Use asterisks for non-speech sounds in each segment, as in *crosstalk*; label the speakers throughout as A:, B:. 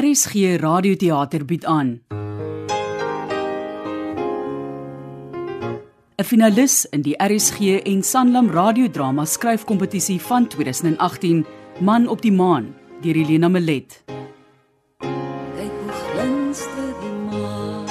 A: RSG Radioteater bied aan. 'n Finalis in die RSG en Sanlam radiodrama skryfkompetisie van 2018 Man op die maan deur Helena Milet.
B: Kyk hoe glinster die maan.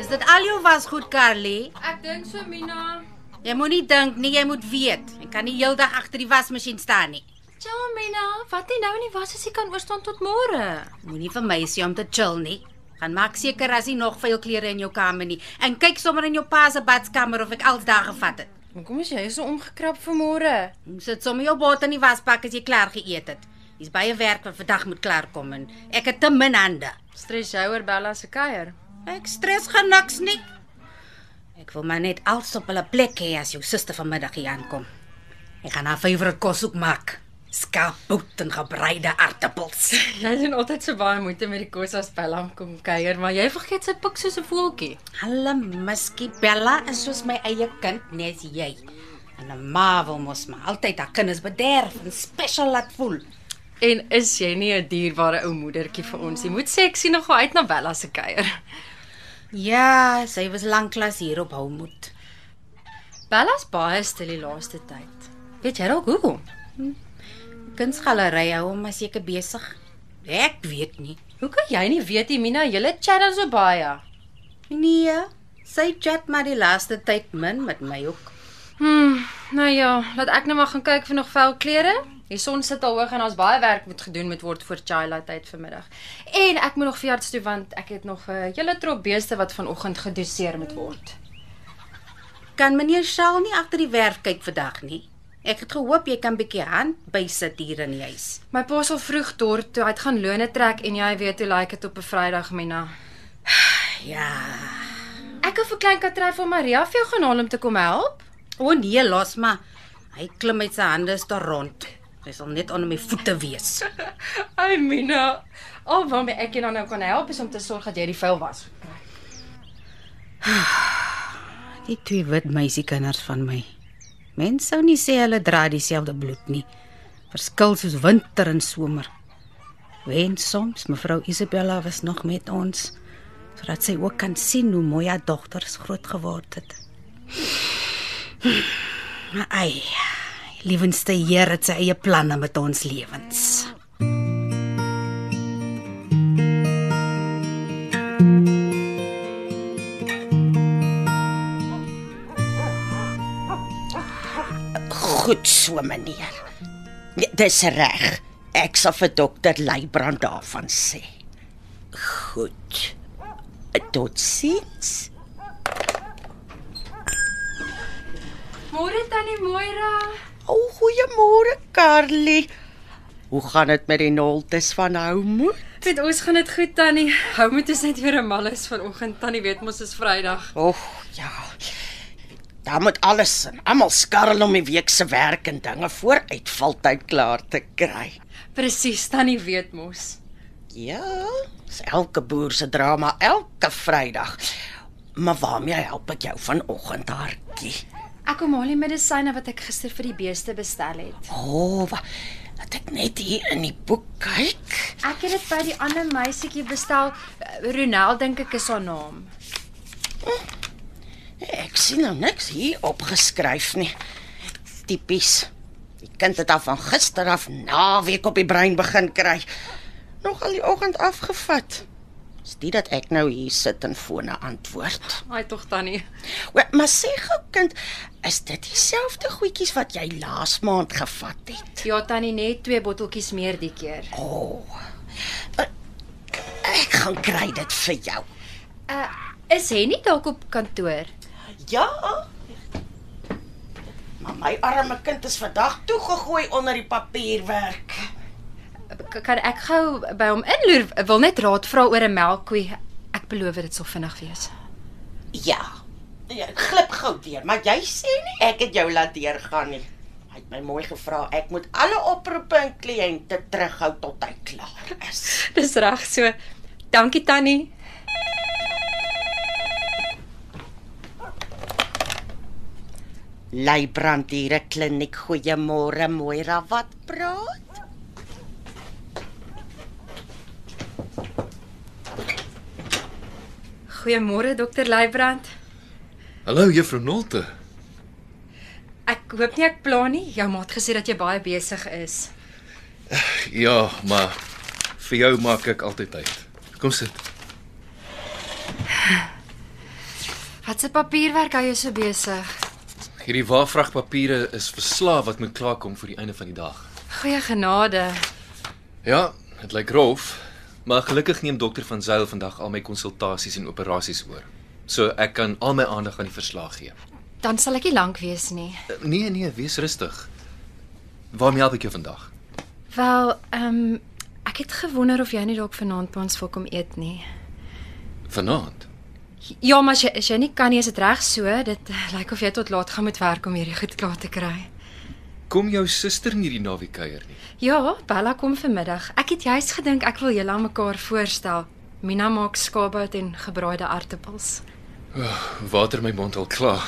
C: Is dit al jou wasgoed, Carly?
D: Ek dink so Mina.
C: Jy moenie dink nie, jy moet weet. Ek kan nie heeldag agter die wasmasjien staan nie.
D: Ja Mina, wat jy nou nie was as jy kan oorstaan tot môre.
C: Moenie vir my sê om te chill nie. Gaan maak seker as jy nog veel klere in jou kamer nie en kyk sommer in jou pa se badkamer of ek alles daar gevat het.
D: Hoekom is jy so omgekrap vir môre?
C: Jy Sit sommer jou bot in die wasbak as jy klaar geëet het. Dis baie werk wat vandag moet klaarkom en ek het te min hande.
D: Stres jy oor Bella se kuier?
C: Ek stres gaan niks nie. Ek wil maar net alles op hulle plek hê as jou suster vanmiddag hier aankom. Ek gaan haar favourite kos ook maak. Skaapbout en gebreide aartappels.
D: Jy doen altyd so baie moeite met die kos as Bella kom kuier, maar jy vergeet sy pik soos 'n voeltjie.
C: *laughs* Hallo, Miskie Bella is soos my eie kind, net as jy. En 'n ma wil mos maar altyd haar kinders bederf en special laat voel.
D: En is jy nie 'n dierbare ou moedertjie vir ons nie? Moet sê ek sien nogal uit na Bella se kuier.
C: Ja, sy was lanklaas hier op Houmoed.
D: Bella's baie stil die laaste tyd. Weet jy dalk hoekom?
C: Kunsgalery hou hom maar seker besig. Ek weet nie.
D: Hoe kan jy nie weet nie, Mina? Julle chat dan so baie.
C: Nee, sy chat maar die laaste tyd min met my ook.
D: Hm, nou ja, laat ek nou maar gaan kyk vir nog vel klere. Die son sit al hoog en daar's baie werk moet gedoen moet word voor Chyla tyd vanmiddag. En ek moet nog veearts toe want ek het nog 'n uh, hele trop beeste wat vanoggend gedoseer moet word.
C: Kan meneer Shaal nie agter die werf kyk vandag nie. Ek het gehoop jy kan bietjie hand bysit hier in die huis.
D: My pa sal vroeg dorp toe uit gaan lone trek en jy weet hoe lyk like dit op 'n Vrydag, Mina.
C: Ja.
D: Ek het vir klein Katrein van Maria vir jou gaan haal om te kom help.
C: O nee, los maar. Hy klim met sy hande stor rond. Hy sal net onder my voete wees.
D: Ai Mina, al waarmee ek jou dan nou kan help is om te sorg dat jy die vuil was.
C: Die twee wit meisiekinders van my. Mense sou nie sê hulle dra dieselfde bloed nie. Verskil soos winter en somer. Wen soms mevrou Isabella was nog met ons sodat sy ook kan sien hoe mooi haar dogters groot geword het. Maar ai, liewenste Here het sy eie planne met ons lewens.
E: Goed so, meneer. Ja, Dis reg. Ek sal vir dokter Leibrand daarvan sê. Goed. Tot sins.
D: Môre tannie Moira.
E: O, oh, goeiemôre, Carly. Hoe gaan dit met die noltes van Houmoed?
D: Dit ons gaan dit goed tannie. Hou moet ons net weer 'n malles vanoggend tannie weet mos is Vrydag.
E: O, ja. Daar moet alles en almal skarrel om die week se werk en dinge vooruit valtyd klaar te kry.
D: Presies tannie weet mos.
E: Ja, is elke boer se drama elke Vrydag. Maar waarmee help ek jou vanoggend, hartjie?
D: Ek kom haal die medisyne wat ek gister vir die beeste bestel het.
E: O, oh, wat ek net hier in die boek kyk.
D: Ek het dit by die ander meisietjie bestel. eh, Ronel dink ek is haar naam.
E: Ek sien nou niks hier opgeskryf nie. Tipies. Die kind het af van gister af naweek op die brein begin kry. Nog al die oggend afgevat. Is dit dat ek nou hier sit en fone antwoord?
D: Ai tog tannie.
E: O, maar sê gou kind, is dit dieselfde goedjies wat jy laas maand gevat het?
D: Ja tannie net twee botteltjies meer die keer.
E: O. Oh, ek gaan kry dit vir jou.
D: Uh, is Henny dalk op kantoor?
E: Ja. Maar my arme kind is vandag toegegooi onder die papierwerk.
D: K- Kan ek gou by hom inloer? Ek Wil net raad vra oor 'n melkkoe. Ek beloof dit sal vinnig wees.
E: Ja. Ja, ek glip gou weer, maar jy sê nie ek het jou laat deurgaan nie. Hy het my mooi gevra ek moet alle oproepe en kliënte terughou tot hy klaar is.
D: Dis reg so. Dankie tannie.
E: Leibrand hier 'n kliniek. Goeiemôre, Moira. Wat praat?
D: Goeiemôre dokter Leibrand.
F: Hallo juffrou Nolte.
D: Ek hoop nie ek pla nie. Jou maat gesê dat jy baie besig is.
F: Ja, maar vir jou maak ek altyd tyd. Kom sit.
D: Wat se papierwerk hou jy so besig?
F: Hierdie waarvragpapiere is verslaaf wat moet klaarkom vir die einde van die dag.
D: Goeie genade.
F: Ja, dit lyk rof, maar gelukkig neem dokter van Sail vandag al my konsultasies en operasies oor. So ek kan al my aandag aan die verslag gee.
D: Dan sal ek nie lank wees nie.
F: Eh, Nee nee, wees rustig. Waarmee help ek jou vandag?
D: Wel, ehm um, ek het gewonder of jy nie dalk vanaand by ons wil kom eet nie.
F: Vanaand.
D: Ja, maar as jy as jy nie kan nie, is dit reg so. Dit eh, lyk of jy tot laat gaan moet werk om hierdie goed klaar te kry.
F: Kom jou suster nie hierdie naweek kuier nie.
D: Ja, Bella kom vanmiddag. Ek het juis gedink ek wil julle aan mekaar voorstel. Mina maak skaapbout en gebraaide aartappels.
F: Water my mond al klaar.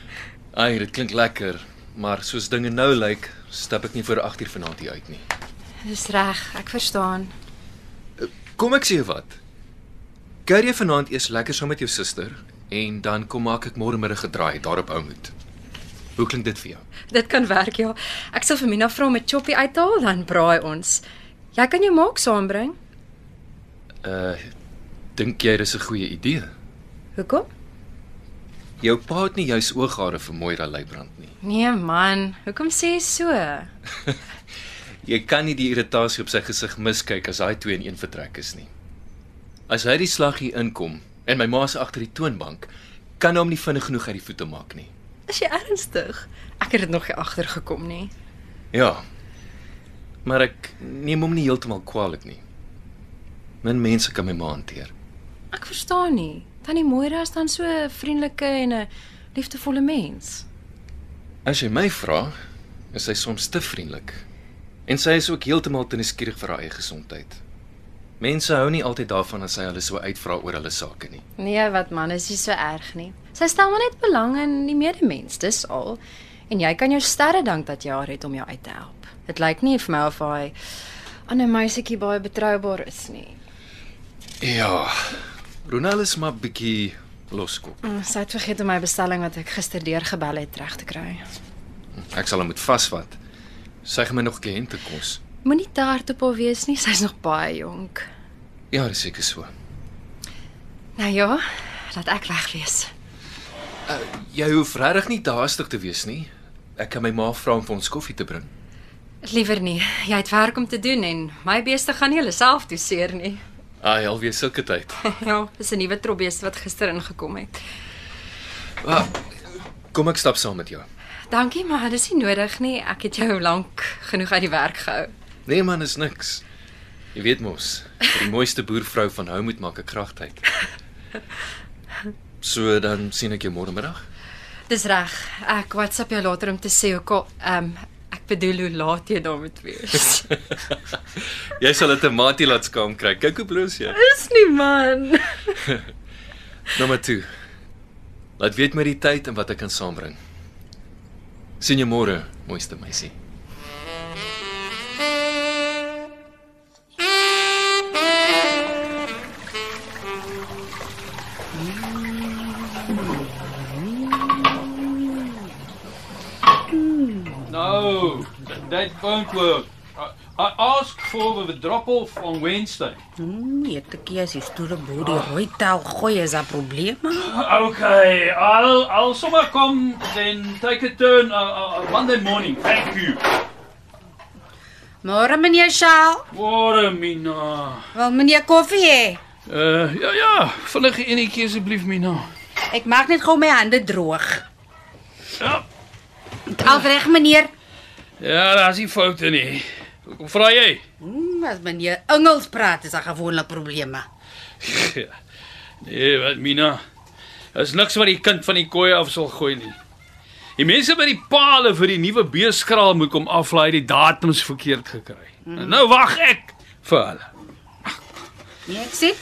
F: *laughs* Ai, dit klink lekker, maar soos dinge nou lyk, stap ek nie voor 8uur vanaand hier uit nie.
D: Dis reg, ek verstaan.
F: Kom ek sê jou wat. Kuier jy vanaand eers lekker saam met jou suster en dan kom maak ek môre middag gedraai daarop ou moet. Hoe klink dit vir jou?
D: Dit kan werk, ja. Ek sal vir Mina vra om 'n choppie uit te haal, dan braai ons. Jy kan jou maak saambring.
F: Uh dink jy dis 'n goeie idee?
D: Hoekom?
F: Jou pa het nie jous ooghare vir Moira Leibrand nie.
D: Nee man, hoekom sê jy so?
F: Jy kan nie die irritasie op sy gesig miskyk as daai twee in een vertrek is nie. As hy die slag hier inkom en my ma se agter die toonbank, kan hy hom nie vinnig genoeg uit die voete maak nie.
D: Is jy ernstig? Ek het dit nog nie agtergekom nie.
F: Ja. Maar ek neem hom nie heeltemal kwaadlik nie. Min mense kan my ma hanteer.
D: Ek verstaan nie. Tannie Moira is dan so 'n vriendelike en 'n liefdevolle mens.
F: As jy my vra, is sy soms te vriendelik. En sy is ook heeltemal te nuuskierig vir haar eie gesondheid. Mense hou nie altyd daarvan as sy hulle so uitvra oor hulle sake nie.
D: Nee, wat man, is nie so erg nie. Sy stel maar net belang in die medemens, dis al. En jy kan jou sterre dank dat jy haar het om jou uit te help. Dit lyk nie vir my of hy ander meisietjie baie betroubaar is nie.
F: Ja. Ronald is maar bietjie loskop.
D: Mm, Sy het vergeet om my bestelling wat ek gister deurgebel het reg te kry.
F: Ek sal hom moet vasvat. Sy gaan my nog kliënte kos.
D: Moenie te hard op haar wees nie, sy's nog baie jonk.
F: Ja, dis seker so.
D: Nou ja, laat ek weg wees.
F: Jy hoef regtig nie te haastig te wees nie. Ek kan my ma vra om vir ons koffie te bring.
D: Liewer nie. Jy het werk om te doen en my beeste gaan nie hulle self toeseer nie.
F: Ai, alweer sulke tyd.
D: *laughs* Ja, dis 'n nuwe trobbeeste wat gister ingekom het.
F: Ah, Kom ek stap saam met jou.
D: Dankie, maar dis nie nodig nie. Ek het jou lank genoeg uit die werk gehou.
F: Nee man, is niks. Jy weet mos, vir die mooiste boervrou van hou moet maak 'n kragtyd. So dan sien ek jou môre middag.
D: Dis reg. Ek WhatsApp jou later om te sê hoe kom ehm um, ek bedoel hoe laat jy daar moet *laughs* wees.
F: Jy sal dit 'n maatie laat skaam kry. Kyk hoe bloos jy.
D: Dis nie man.
F: Nommer 2. Laat weet my die tyd en wat ek kan saambring. Sien jou môre, mooiste meisie.
G: No, that won't work. I, I asked for the drop off on Wednesday.
C: Hmm, etekie as jy stoere body rooi tel gooi is 'n probleem. maar.
G: Okay, I'll I'll somewhere come then take a turn uh, uh, Monday morning. Thank you.
C: Môre meneer Shaal,
G: Môre Mina.
C: wil meneer koffie hê?
G: Uh ja ja, vinnig enetjie asseblief Mina.
C: Ek maak net gou my hande droog.
G: Ja.
C: Alreg meneer.
G: Ja, daar's nie foute nie. Kom vra jy.
C: Hmm, as meneer Engels praat is daar gewoonlik probleme.
G: ja. Nee, wat Mina. Is niks wat die kind van die koei af sal gooi nie. Die mense by die palle vir die nuwe beeskraal moet kom aflaai die datums verkeerd gekry. Mm -hmm. Nou wag ek vir hulle.
C: Nee, ek sê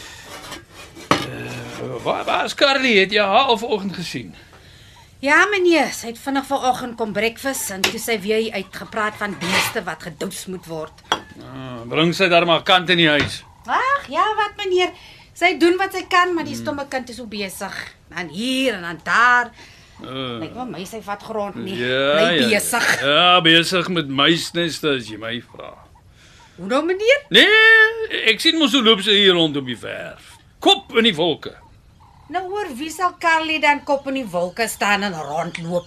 G: Waar waar is Carly? Het jy haar al vanoggend gesien?
C: Ja meneer, sy het vinnig vanoggend kom breakfast en toe sy weer uitgepraat van beeste wat gedous moet word.
G: Ah, Bring sy daar maar kant in die huis.
C: Ag, ja, wat meneer? Sy doen wat sy kan, maar die
G: Hmm.
C: stomme kind is so besig. Dan hier en dan daar.
G: Uh,
C: Lyk vir my sy vat grond nie.
G: ja,
C: Bly
G: ja,
C: Nee, besig.
G: Ja, besig met muisneste as jy my vra.
C: Hoe nou meneer?
G: Nee, ek sien mos hoe loop sy hier rond op die werf. Kop in die wolke.
C: Nou oor wie sal Carly dan kop in die wolke staan en rondloop?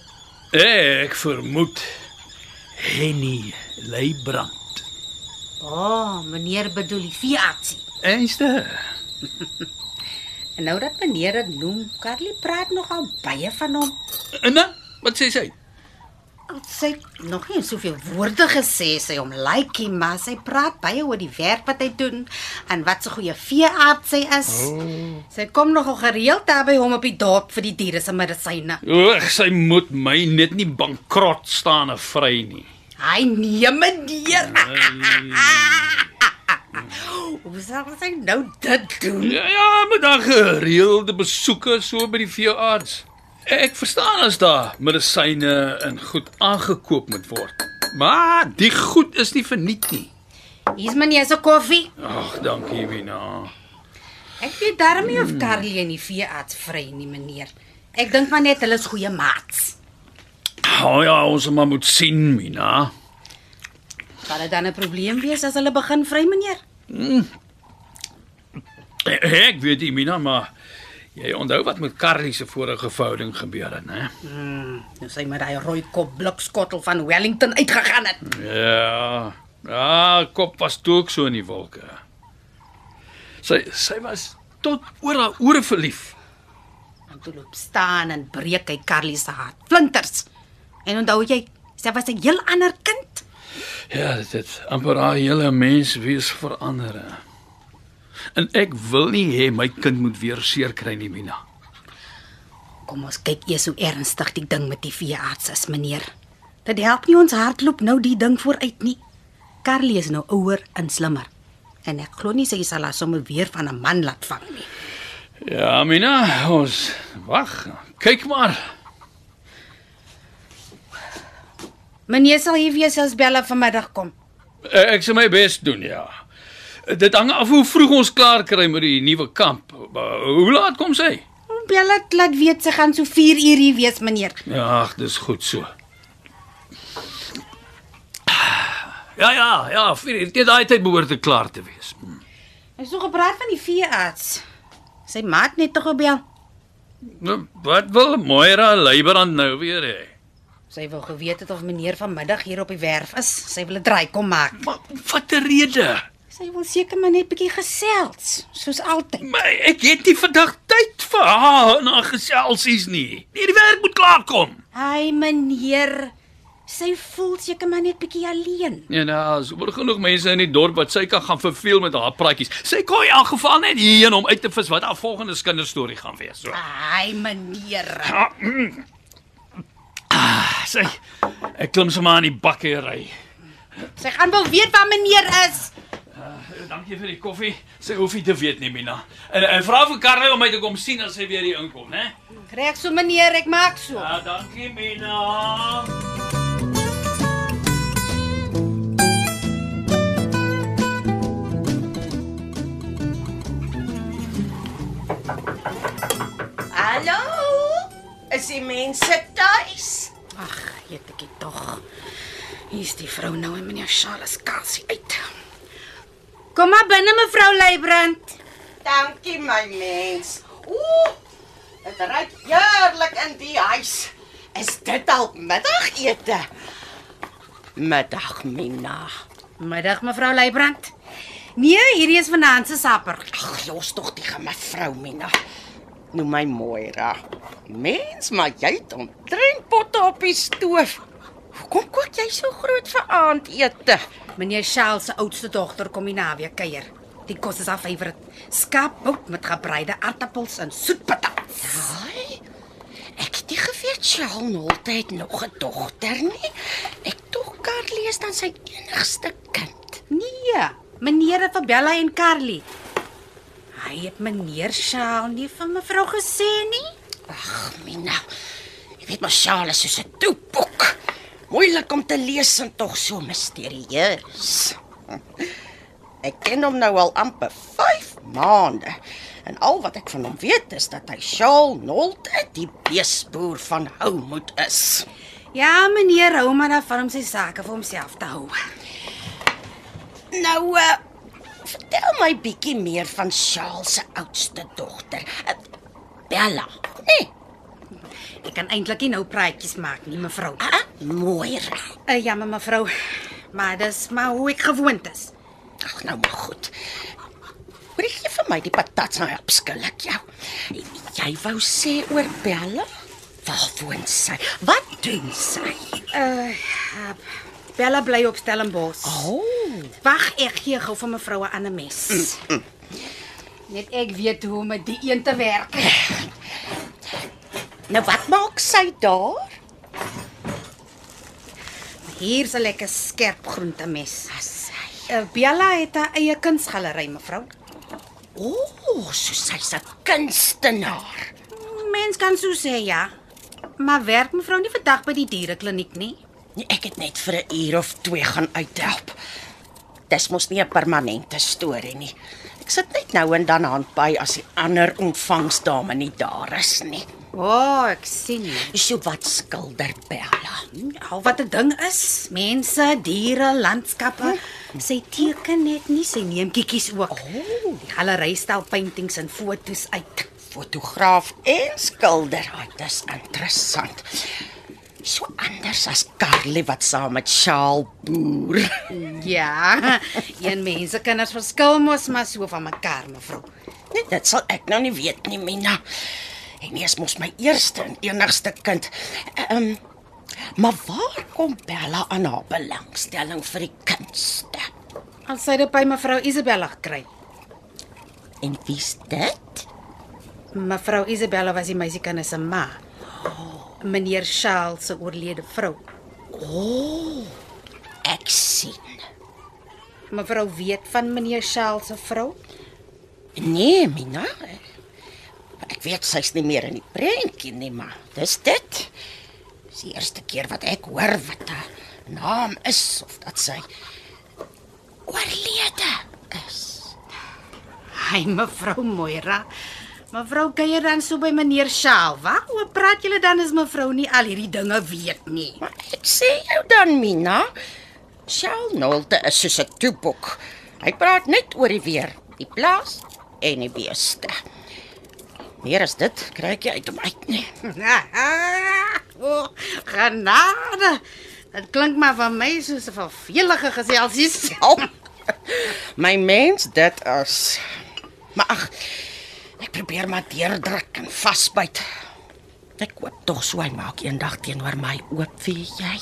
G: Ek vermoed Henny Leibrand.
C: O, oh, meneer bedoel die veeartsie.
G: Eenste.
C: En nou dat meneer dit noem, Carly praat nogal baie van hom.
G: En dan, wat sê sy?
C: Al Sy het nog nie soveel woorde gesê sy hom like hom, maar sy praat baie oor die werk wat hy doen en wat 'n goeie veearts sy is. Oh. Sy kom nogal gereeld daar by hom op die dorp vir die diere se medisyne.
G: Oeg, sy moet my net nie bankrot staan en vry nie.
C: Hy neem meneer. Hoe sal sy nou dit doen?
G: Ja, ja, maar dan gereelde besoeke so by die veearts. Ek verstaan as daar medisyne en goed aangekoop moet word. Maar die goed is nie verniet nie.
C: Hier's meneer se koffie.
G: Ag, dankie Wina.
C: Ek weet darm nie of Carly en die veearts vry nie, meneer. Ek dink maar net hulle is goeie maats.
G: O oh, ja, ons moet maar moet sien, Mina.
C: Sal dit dan 'n probleem wees as hulle begin vry, meneer?
G: E- Ek weet nie, Mina, maar jy onthou wat met Carly se vorige verhouding gebeur het, né?
C: Nou sy met daai rooi kop blikskottel van Wellington uitgegaan het.
G: Ja. Ja, kop was toe ook so in die wolke. Sy sy was tot oor haar ore verlief.
C: En toe loop staan en breek hy Carly se hart. Flinters. En onthou jy, sy was 'n heel ander kind.
G: Ja, dit het amper haar hele mens wees verander. hè. En ek wil nie hê my kind moet weer seer kry nie, Mina.
C: Kom ons kyk eers hoe ernstig die ding met die veearts is, meneer. Dit help nie ons hardloop nou die ding vooruit nie. Carly is nou ouer en slimmer. En ek glo nie sy sal haar sommer weer van 'n man laat vang nie.
G: Ja, Mina, ons wag. Kyk maar.
C: Meneer sal hier wees as Bella vanmiddag kom.
G: E, Ek sal my bes doen, ja. Dit hang af hoe vroeg ons klaar kry met die nuwe kamp. Hoe laat kom sy?
C: Bella het laat weet sy gaan so 4 uur hier wees, meneer.
G: Ja, ag, dis goed so. Ja ja, ja, vir dit daai tyd behoort te klaar te wees. Hm.
C: Ek so gepraat van die veearts. Sy maat net tog gebel.
G: Nou, wat wil Moira Leibrand nou weer hê?
C: Sy wou geweet het of meneer vanmiddag hier op die werf is. Sy wil 'n draai kom maak.
G: Maar wat 'n rede?
C: Sy wil seker maar net bietjie gesels, soos altyd.
G: Maar ek het nie vandag tyd vir haar en haar geselsies nie. Hierdie werk moet klaar kom.
C: Ai meneer, sy voel seker maar net bietjie alleen.
G: Ja, nou, is oor genoeg mense in die dorp wat sy kan gaan verveel met haar praatjies. Sy kon in elk geval net hierheen om uit te vis wat haar volgende kinderstorie gaan wees. So.
C: Ai meneer.
G: Ah, mm. Ah, Sy ek klim sommer aan die bakkery.
C: Sy gaan wel weet waar meneer is.
G: Eh, Dankie vir die koffie. Sy hoef nie te weet nie, Mina. En, en vra vir Karla om my te kom sien as sy weer hier inkom, né?
C: Kry ek so meneer, ek maak so.
G: Ja, dankie, Mina.
E: Hallo. Is die mense tuis?
C: Ag, weet ek dit tog. Hier's die vrou nou en meneer Charles Kassie uit. Kom maar binne mevrou Leibrand.
E: Dankie my mens. Ooh. Dit ruik heerlik in die huis. Is dit al middagete? Middag Mina.
C: Middag mevrou Leibrand. Nee, hierdie is vanaand se sapper.
E: Ag, los tog die mevrou Mina. Noem my Moira. Mens, maar jy het omtrent potte op die stoof. Hoekom kook jy so groot vir aandete?
C: Meneer Charles se oudste dogter kom hier naweek kuier. Die kos is haar favourite. Skaapbout met gebreide aartappels en soetpatat.
E: Ai. Ek het nie geweet Charlotte het nog 'n dogter nie. Ek tog Carly is dan sy enigste kind.
C: Nee, meneer het vir Bella en Carly. Hy het meneer Charles nie van mevrou gesê nie.
E: Ag, Mina. nou. Jy Net maar sjaal is soos 'n toepok. Moeilik om te lees en tog so misterieus. *laughs* Ek ken hom nou al amper 5 maande. En al wat ek van hom weet is dat hy sjaal noolte die beesboer van Houmoed is.
C: Ja, meneer hou maar daarvan om sy sake vir homself te hou.
E: Nou uh, vertel my bietjie meer van Sjaal se oudste dogter, uh, Bella. Nee,
C: Ek kan eintlik nie nou praatjies maak nie, mevrou.
E: uh, Moira.
C: Uh, ja, maar mevrou, maar dis maar hoe ek gewoond is.
E: Ag nou maar goed. Hoor jy vir my die patats nou opskillik jou. Jy wou sê oor Bella? Waar woon sy? Wat doen sy?
C: Uh, uh Bella bly op Stellenbosch.
E: O, oh,
C: Wag, ek gee gou vir mevrou 'n ander mes. Net ek weet hoe om met die een te werk.
E: nou wat maak sy daar?
C: Hier's 'n lekker skerp groente mes. Uh, Bella het haar eie kunsgalery, mevrou.
E: O, oh, so sy's 'n kunstenaar.
C: Mens kan so sê, ja. Maar werk mevrou nie vandag by die dierekliniek nie.
E: Nee, Ek het net vir 'n uur of 2 gaan uithelp. Dis mos nie 'n permanente storie nie. Ek sit net nou en dan hand by as die ander ontvangsdame nie daar is nie.
C: O, oh, ek sien. nie.
E: So wat skilder Bella?
C: Al Ja, wat 'n ding is, mense, diere, landskappe. Sy teken net nie, sy neem kiekies ook.
E: Oh.
C: Die galery stel paintings en fotos uit.
E: Fotograaf en skilder. Ah, Dis interessant. So anders as Carly wat saam met Shaal boer. *laughs*
C: Ja, *laughs* een mense kinders verskil mos maar so van mekaar, mevrou.
E: Nee, dit sal ek nou nie weet nie, Mina. En nie is mos my eerste en enigste kind. Ehm um, maar waar kom Bella aan haar belangstelling vir die kunste?
C: As sy dit by mevrou Isabella gekry.
E: En wie's dit?
C: Mevrou Isabella was die meisiekind se ma. Meneer Charles se oorlede vrou.
E: Ek sien.
C: Mevrou weet van meneer Charles se vrou.
E: Nee, Mina. Ek weet sy's nie meer in die prentjie nie, maar dis dit. Dis die eerste keer wat ek hoor wat haar naam is of dat sy oorlede is.
C: Hy mevrou Moira. Mevrou kuier dan so by meneer Charles. Waaroor praat julle dan as mevrou nie al hierdie dinge weet nie? *laughs*
E: Maar ek sê jou dan, Mina, Shaal Nolte is soos 'n toepok. Hy praat net oor die weer, die plaas en die beeste. Meer as dit kry ek nie uit hom uit nie.
C: o, genade. Dit klink maar van my soos 'n vervelige geselsies. *laughs*
E: Au. My mens, dit is Maar ag, ek probeer maar deurdruk en vasbyt. Ek koop tog so hy maak eendag teenoor my oop, weet jy?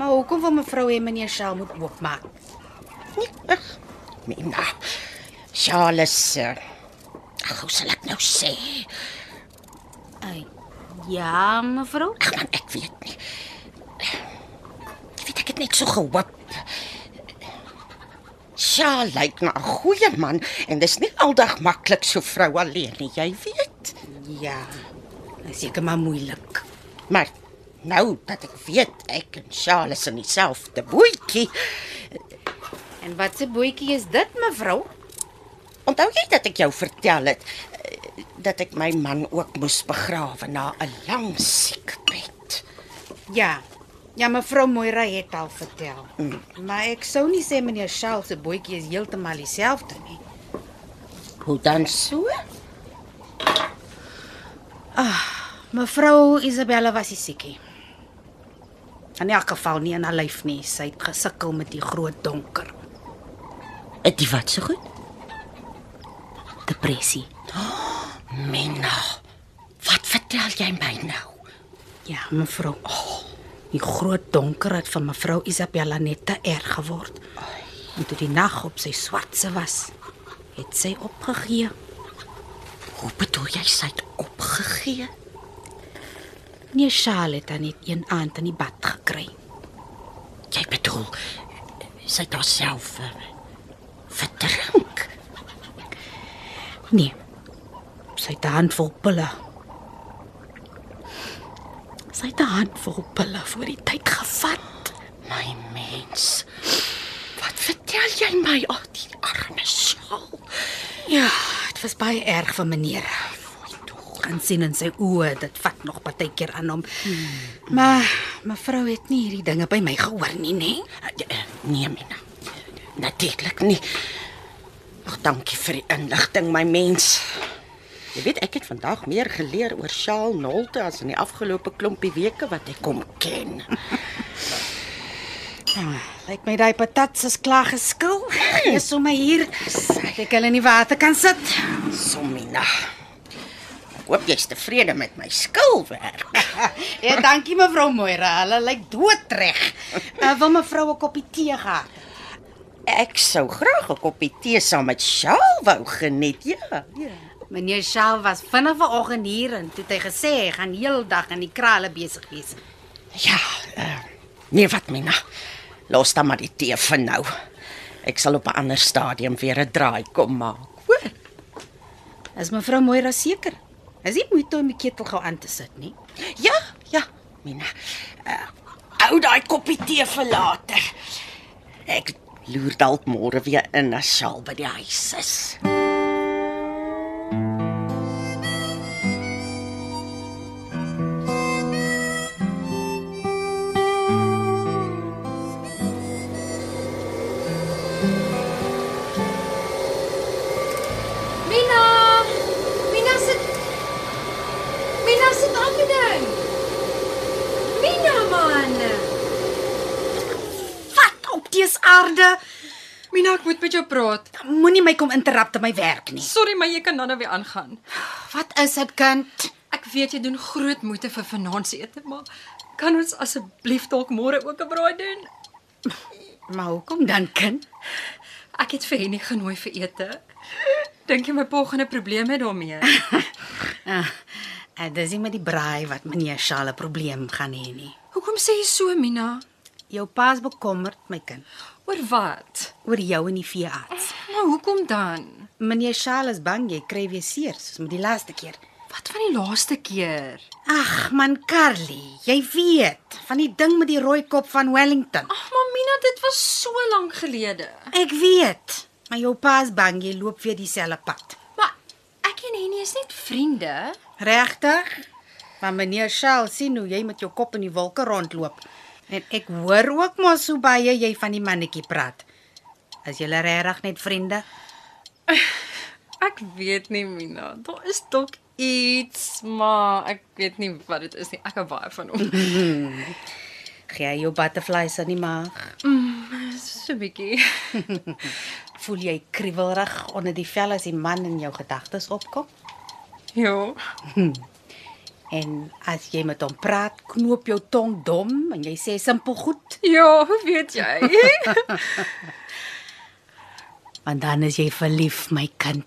C: Maar hoekom wil mevrou en meneer Shell moet oopmaak?
E: Nee, ag, Mina. Charles, eh, ag, hoe sal ek nou sê?
C: Ai. Ja, mevrou.
E: Ag man, ek weet nie. Ek weet ek het net so gehoop. Sja, lyk na 'n goeie man en dis nie aldag maklik so vrou alleen nie, jy weet.
C: Ja. Dit is seker maar moeilik.
E: Maar nou dat ek weet ek en Sjaal is in dieselfde bootjie,
C: En wat se boetjie is dit, mevrou?
E: onthou jy dat ek jou vertel het eh, dat ek my man ook moes begrawe na 'n lang siekbed.
C: Ja. Ja, mevrou Moira het al vertel. Mm. Maar ek sou nie sê meneer Shell se boetjie is heeltemal dieselfde nie.
E: Hoe dan so?
C: Mevrou Isabella was nie siekie. In elk geval nie in haar lyf nie. Sy het gesukkel met die groot donker.
E: Het die wat so goed?
C: Depressie.
E: Mina, wat vertel jy my nou?
C: Ja, mevrou. Oh, die groot donker het vir mevrou Isabella net te erg geword. En toe die nag op sy swartse was, het sy opgegee.
E: Hoe bedoel jy sy het opgegee?
C: Nee, Charlotte het haar net een aand in die bad gekry.
E: Jy bedoel sy het haarself eh, verdrink?
C: Nee. Sy het 'n handvol pille.
H: Sy het 'n handvol pille voor die tyd gevat.
E: My mens. Wat vertel jy my al die arme sjaal?
C: Ja, dit was baie erg vir meneer. Kan sien in sy oë, dit vat nog baie keer aan hom. Hmm. Maar mevrou het nie hierdie dinge by my gehoor nie, nê?
E: Nee, Mina. Natuurlik nie. Ag, dankie vir die inligting, my mens. Jy weet ek het vandag meer geleer oor sjaal nolte as in die afgelope klompie weke wat ek kom ken.
C: Lyk my daai patats is klaar geskil. Is sommer hier. Ek hulle in die water kan sit.
E: Somina. Ek hoop jy's tevrede met my skilwerk. *laughs*
C: Ja, dankie mevrou Moira. Hulle lyk doodreg. Uh, wil mevrou 'n koppie tee gehad?
E: Ek sou graag 'n koppie tee saam met Sjaal wou geniet. Ja.
C: Meneer Shaw was vinnig vanoggend hier en toe het hy gesê hy gaan heeldag aan die krale besig wees.
E: Ja. Uh, nee, wat Mina. Los dan maar die tee vir nou. Ek sal op 'n ander stadium weer 'n draai kom maak. Hoor?
C: Is mevrou Moira seker? Is nie moeite om die ketel gou aan te sit nie.
E: Ja, ja, Mina. Uh, hou daai koppie tee vir later. Ek loer dalk môre weer in as Sjaal by die huis is.
D: Mina! Mina sit Mina sit aan die ding. Mina man.
C: Wat op die aarde?
D: Mina, ek moet met jou praat.
C: Moenie my kom interrupt in my werk nie.
D: Sorry, maar jy kan dan nou weer aangaan.
C: Wat is dit, kind?
D: Ek weet jy doen groot moeite vir vanaand se ete, maar kan ons asseblief dalk môre ook 'n braai doen?
C: Maar hoekom dan, kind?
D: Ek het vir Henny genooi vir ete. Dink jy my pa gaan 'n probleem hê daarmee?
C: Uh, uh, dis nie met die braai wat meneer Shaw 'n probleem gaan hê nie.
D: Hoekom sê jy so, Mina?
C: Jou pa's bekommerd, my kind,
D: Oor wat?
C: oor jou en die veearts.
D: Nou hoekom dan?
C: Meneer Shaw is bang jy kry weer seer soos met die laaste keer.
D: Wat van die laaste keer?
C: Ag man Carly, jy weet, van die ding met die rooi kop van Wellington.
D: Ag, maar Mina, dit was so lank gelede.
C: Ah, Ek weet, maar jou pa's bang jy loop weer dieselfde pad.
D: Maar ek en Henny is net vriende.
C: Regtig? Maar meneer Shaw sien hoe jy met jou kop in die wolke rondloop. En ek hoor ook mos hoe baie jy van die mannetjie praat. As julle regtig net vriende?
D: Ek weet nie Mina, daar is dalk iets, maar ek weet nie wat dit is nie. Ek hou baie van *laughs* hom.
C: Gee hy jou butterflies aan die maag.
D: Mm, So 'n bietjie. *laughs*
C: Voel jy kriewelrig onder die vel as die man in jou gedagtes opkom?
D: Ja.
C: En as jy met hom praat, knoop jou tong dom en jy sê simpel goed,
D: Ja, hoe weet jy? *laughs*
C: want dan is jy verlief, my kind.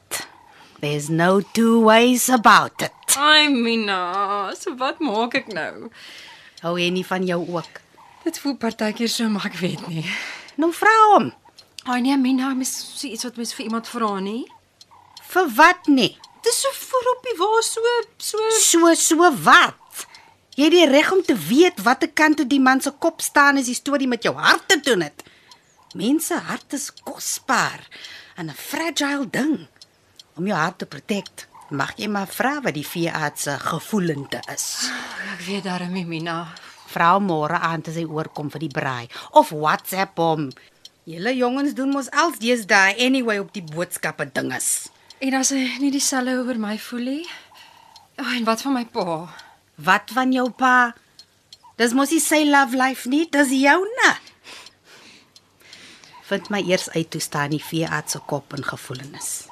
C: There's no two ways about it.
D: Ai Mina, so wat maak ek nou?
C: Hou hy nie van jou ook?
D: Dit voel partykeer so, maar ek weet nie.
C: Nou vra hom.
D: Ai nee Mina, mis so iets wat mens vir iemand vra nie.
C: Vir wat nie?
D: Dis so voor op die waar so so
C: So so wat? Jy het die reg om te weet watter kant toe die man se kop staan as die storie met jou hart te doen het. Mense hart is kosbaar en 'n fragile ding. Om jou hart te protect, mag jy maar vra wat die veearts se gevoelende is.
D: Ek weet darem nie Mina.
C: Vra hom môre aan te sy oorkom vir die braai of WhatsApp hom. Julle jongens doen mos als deesdae anyway op die boodskappe dinges.
D: En as hy nie dieselfde oor my voel nie. Ai, en wat van my pa?
C: Wat van jou pa? Dis mos nie sy love life nie, dis joune. Vind my eers uit toe staan die veearts se kop en gevoelens.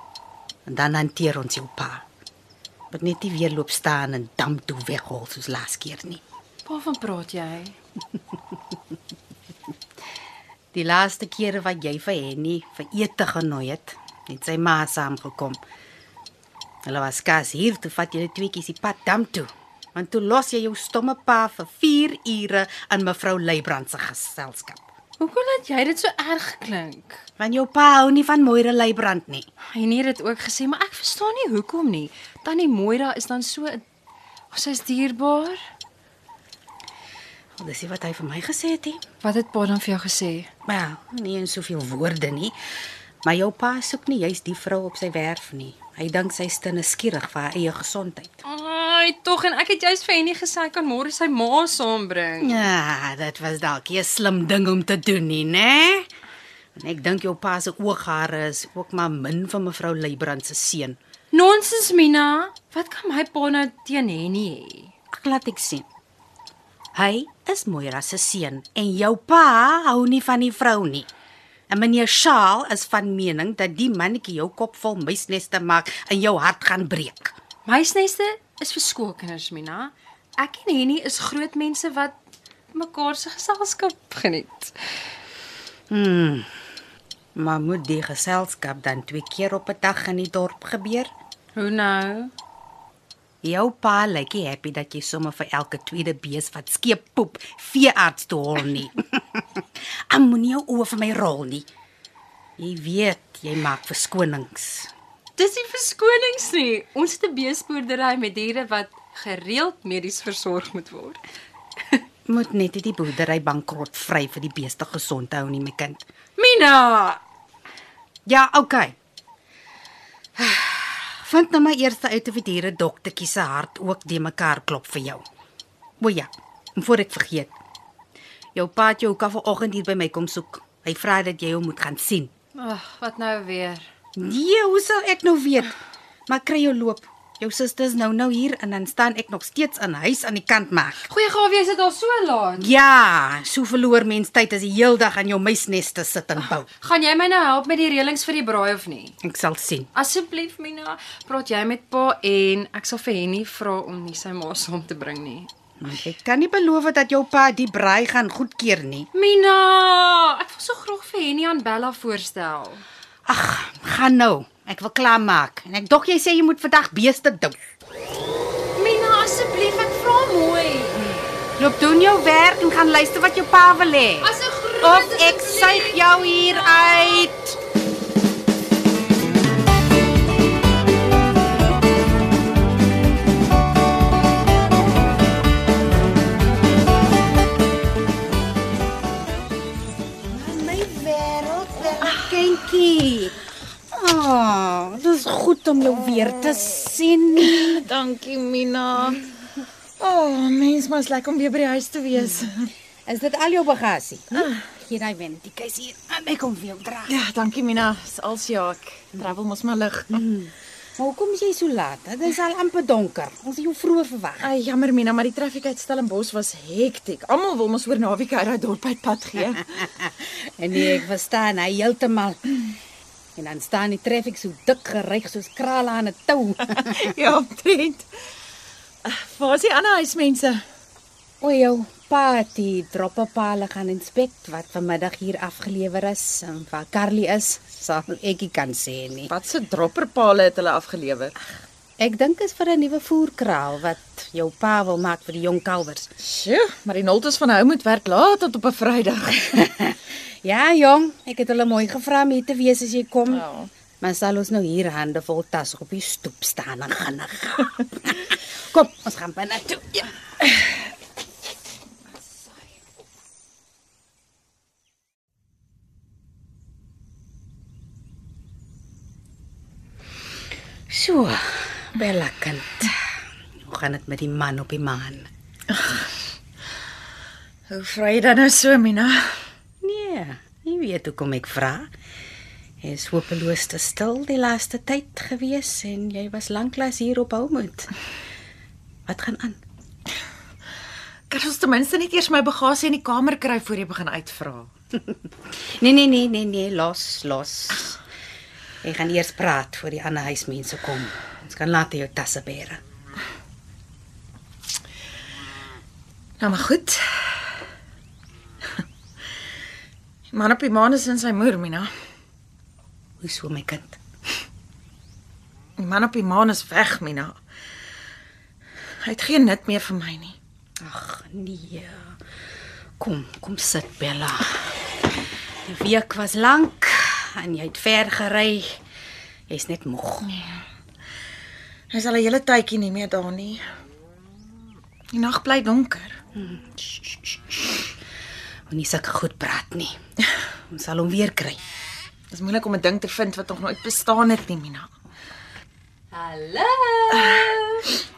C: En dan hanteer ons jou pa. Moet net nie weer loop staan en dam toe weghol soos laas keer nie.
D: Waarvan praat jy?
C: Die laaste kere wat jy vir Henny vir ete genooi het, het sy ma saamgekom. Hulle was kas hier toe vat julle tweeetjies die pad dam toe. Want toe los jy jou stomme pa vir 4 ure aan mevrou Leybrand se geselskap.
D: Hoekom laat jy dit so erg klink?
C: Want jou pa hou nie van Moira Leybrand nie.
D: En hier het ook gesê, maar ek verstaan nie "Oh, hoekom nie. Tannie Moira is dan so sy is dierbaar.
C: Wel, Dis nie wat hy vir my gesê het nie.
D: Wat het pa dan vir jou gesê?
C: Wel, nie in soveel woorde nie. Maar jou pa soek nie juist die vrou op sy werf nie. Hy dink sy is te nuuskierig vir haar eie gesondheid.
D: Ai, tog en ek het juist vir Henny gesê hy kan môre sy ma saambring.
C: Ja, dit was dalk nie 'n slim ding om te doen nie, né? En ek dink jou pa se ooghare is ook maar min van mevrou Leybrand se seun.
D: Nonsens, Mina. Wat kan my pa nou teen Henny hê?
C: Ek laat ek sien. Hy is Moira se seun en jou pa hou nie van die vrou nie. En meneer Shaal is van mening dat die mannetjie jou kop vol muisneste maak en jou hart gaan breek.
D: Muisneste is vir skoolkinders, Mina. Ek en Henny is groot mense wat mekaar se geselskap geniet.
C: Maar moet die geselskap dan twee keer op 'n dag in die dorp gebeur?
D: Hoe nou?
C: Jou pa lyk nie happy dat jy sommer vir elke tweede bees wat skeep poep veearts toe hol nie. Am moenie jou oë vir my rol nie. Jy weet, jy maak verskonings.
D: Dis nie verskonings nie. Ons het 'n beespoordery met diere wat gereeld medies versorg moet word.
C: Moet net nie die boerdery bankrot vry vir die beeste gesond hou nie, my kind.
D: Mina,
C: Ja, okay. *sighs* Vind nou maar eers uit of die diere doktertjie se hart ook de mekaar klop vir jou. O ja, en voor ek vergeet. Jou pa het jou ook al vanoggend hier by my kom soek. Hy vra dat jy hom moet gaan sien.
D: ag, wat nou weer?
C: Nee, hoe sal ek nou weet? Maar kry jou loop. Jou susters nou nou hier en dan staan ek nog steeds aan huis aan die kant maar.
D: Goeie gawe, is dit al so laat?
C: Ja, so verloor mens tyd as jy heeldag aan jou muisnes te sit en bou.
D: Gaan jy my nou help met die reëlings vir die braai of nie?
C: Ek sal sien.
D: Asseblief Mina, praat jy met pa en ek sal vir Henny vra om nie sy ma saam te bring nie.
C: Want Ek kan nie beloof dat jou pa die braai gaan goedkeur nie.
D: Mina, ek wil so graag vir Henny aan Bella voorstel.
C: Ag, gaan nou. Ek wil klaar maak. En ek dog jy sê jy moet vandag beeste dou.
D: Mina, asseblief, ek vra mooi.
C: Loop doen jou werk en gaan luister wat jou pa wil hê.
D: As 'n groot
C: Of ek suig jou hier uit.
I: My wêreld,
C: Ah. Kindjie. Oh, dis goed om jou weer te sien.
I: dankie Mina. O, oh, mens mos lekker om weer by die huis te wees.
C: Is dit al jou bagasie? Hm? Ah, Hier daai wen, die kies hier. aan, Ek kom vir jou dra.
I: Ja, dankie Mina. Dis als ja, ek travel mos maar lig.
C: Maar hoekom is jy so laat? hè? Dit is al amper donker. Ons het jou vroeg verwag.
I: Ai, jammer Mina, maar die traffiek uit Stellenbosch was hektiek. Almal wil mos oor naweek uit daai dorp uit pad *laughs* gee.
C: *laughs* En nee, ek verstaan hy heeltemal. En dan staan die traffic so dik geryg soos krale aan 'n *laughs* tou.
I: ja, omtrent. Ah, Waar is die ander huismense?
C: O jou party droppepale gaan inspect wat vanmiddag hier afgelewer is en waar Carly is, sal ek nie kan sê nie.
I: Wat se dropperpale het hulle afgelewer?
C: Ek dink is vir 'n nuwe voerkraal wat jou pa wil maak vir die jong kalvers.
I: Sjoe, maar die nultes van hou moet werk laat tot op 'n Vrydag.
C: *laughs* Ja, jong, ek het hulle mooi gevra om hier te wees as jy kom.
I: Ja.
C: Maar sal ons nou hier hande vol tas op die stoep staan en gaan gaan. *laughs* kom, ons gaan binne toe. Ja. So, Bella kind. Hoe gaan dit met die man op die maan?
I: Hoe vra jy dan nou so, Mina?
C: Nee, jy weet hoekom ek vra. Jy is hopeloos te stil die laaste tyd gewees en jy was lanklaas hier op Houmut. Wat gaan aan?
I: Kan ons ten minste net eers my bagasie in die kamer kry voor jy begin uitvra?
C: Nee nee nee nee nee, los, los. Ek gaan eers praat voor die ander huismense kom. Ons kan later jou tasse bera.
I: Nou maar goed. Die Man op die maan is in sy moer, Mina.
C: Hoe so my kind?
I: Die man op die maan is weg, Mina. Hy het geen nut meer vir my nie.
C: Ag nee. Kom, kom sit Bella. Die week was lank en jy het ver gery. Jy's net moeg.
I: Hy's al 'n hele tydjie nie meer daar nie. Die nag bly donker.
C: Moenie sulke goed praat nie. *laughs* Ons sal hom weer kry.
I: Dit is moeilik om 'n ding te vind wat nog nooit bestaan het nie, Mina.
D: Hallo.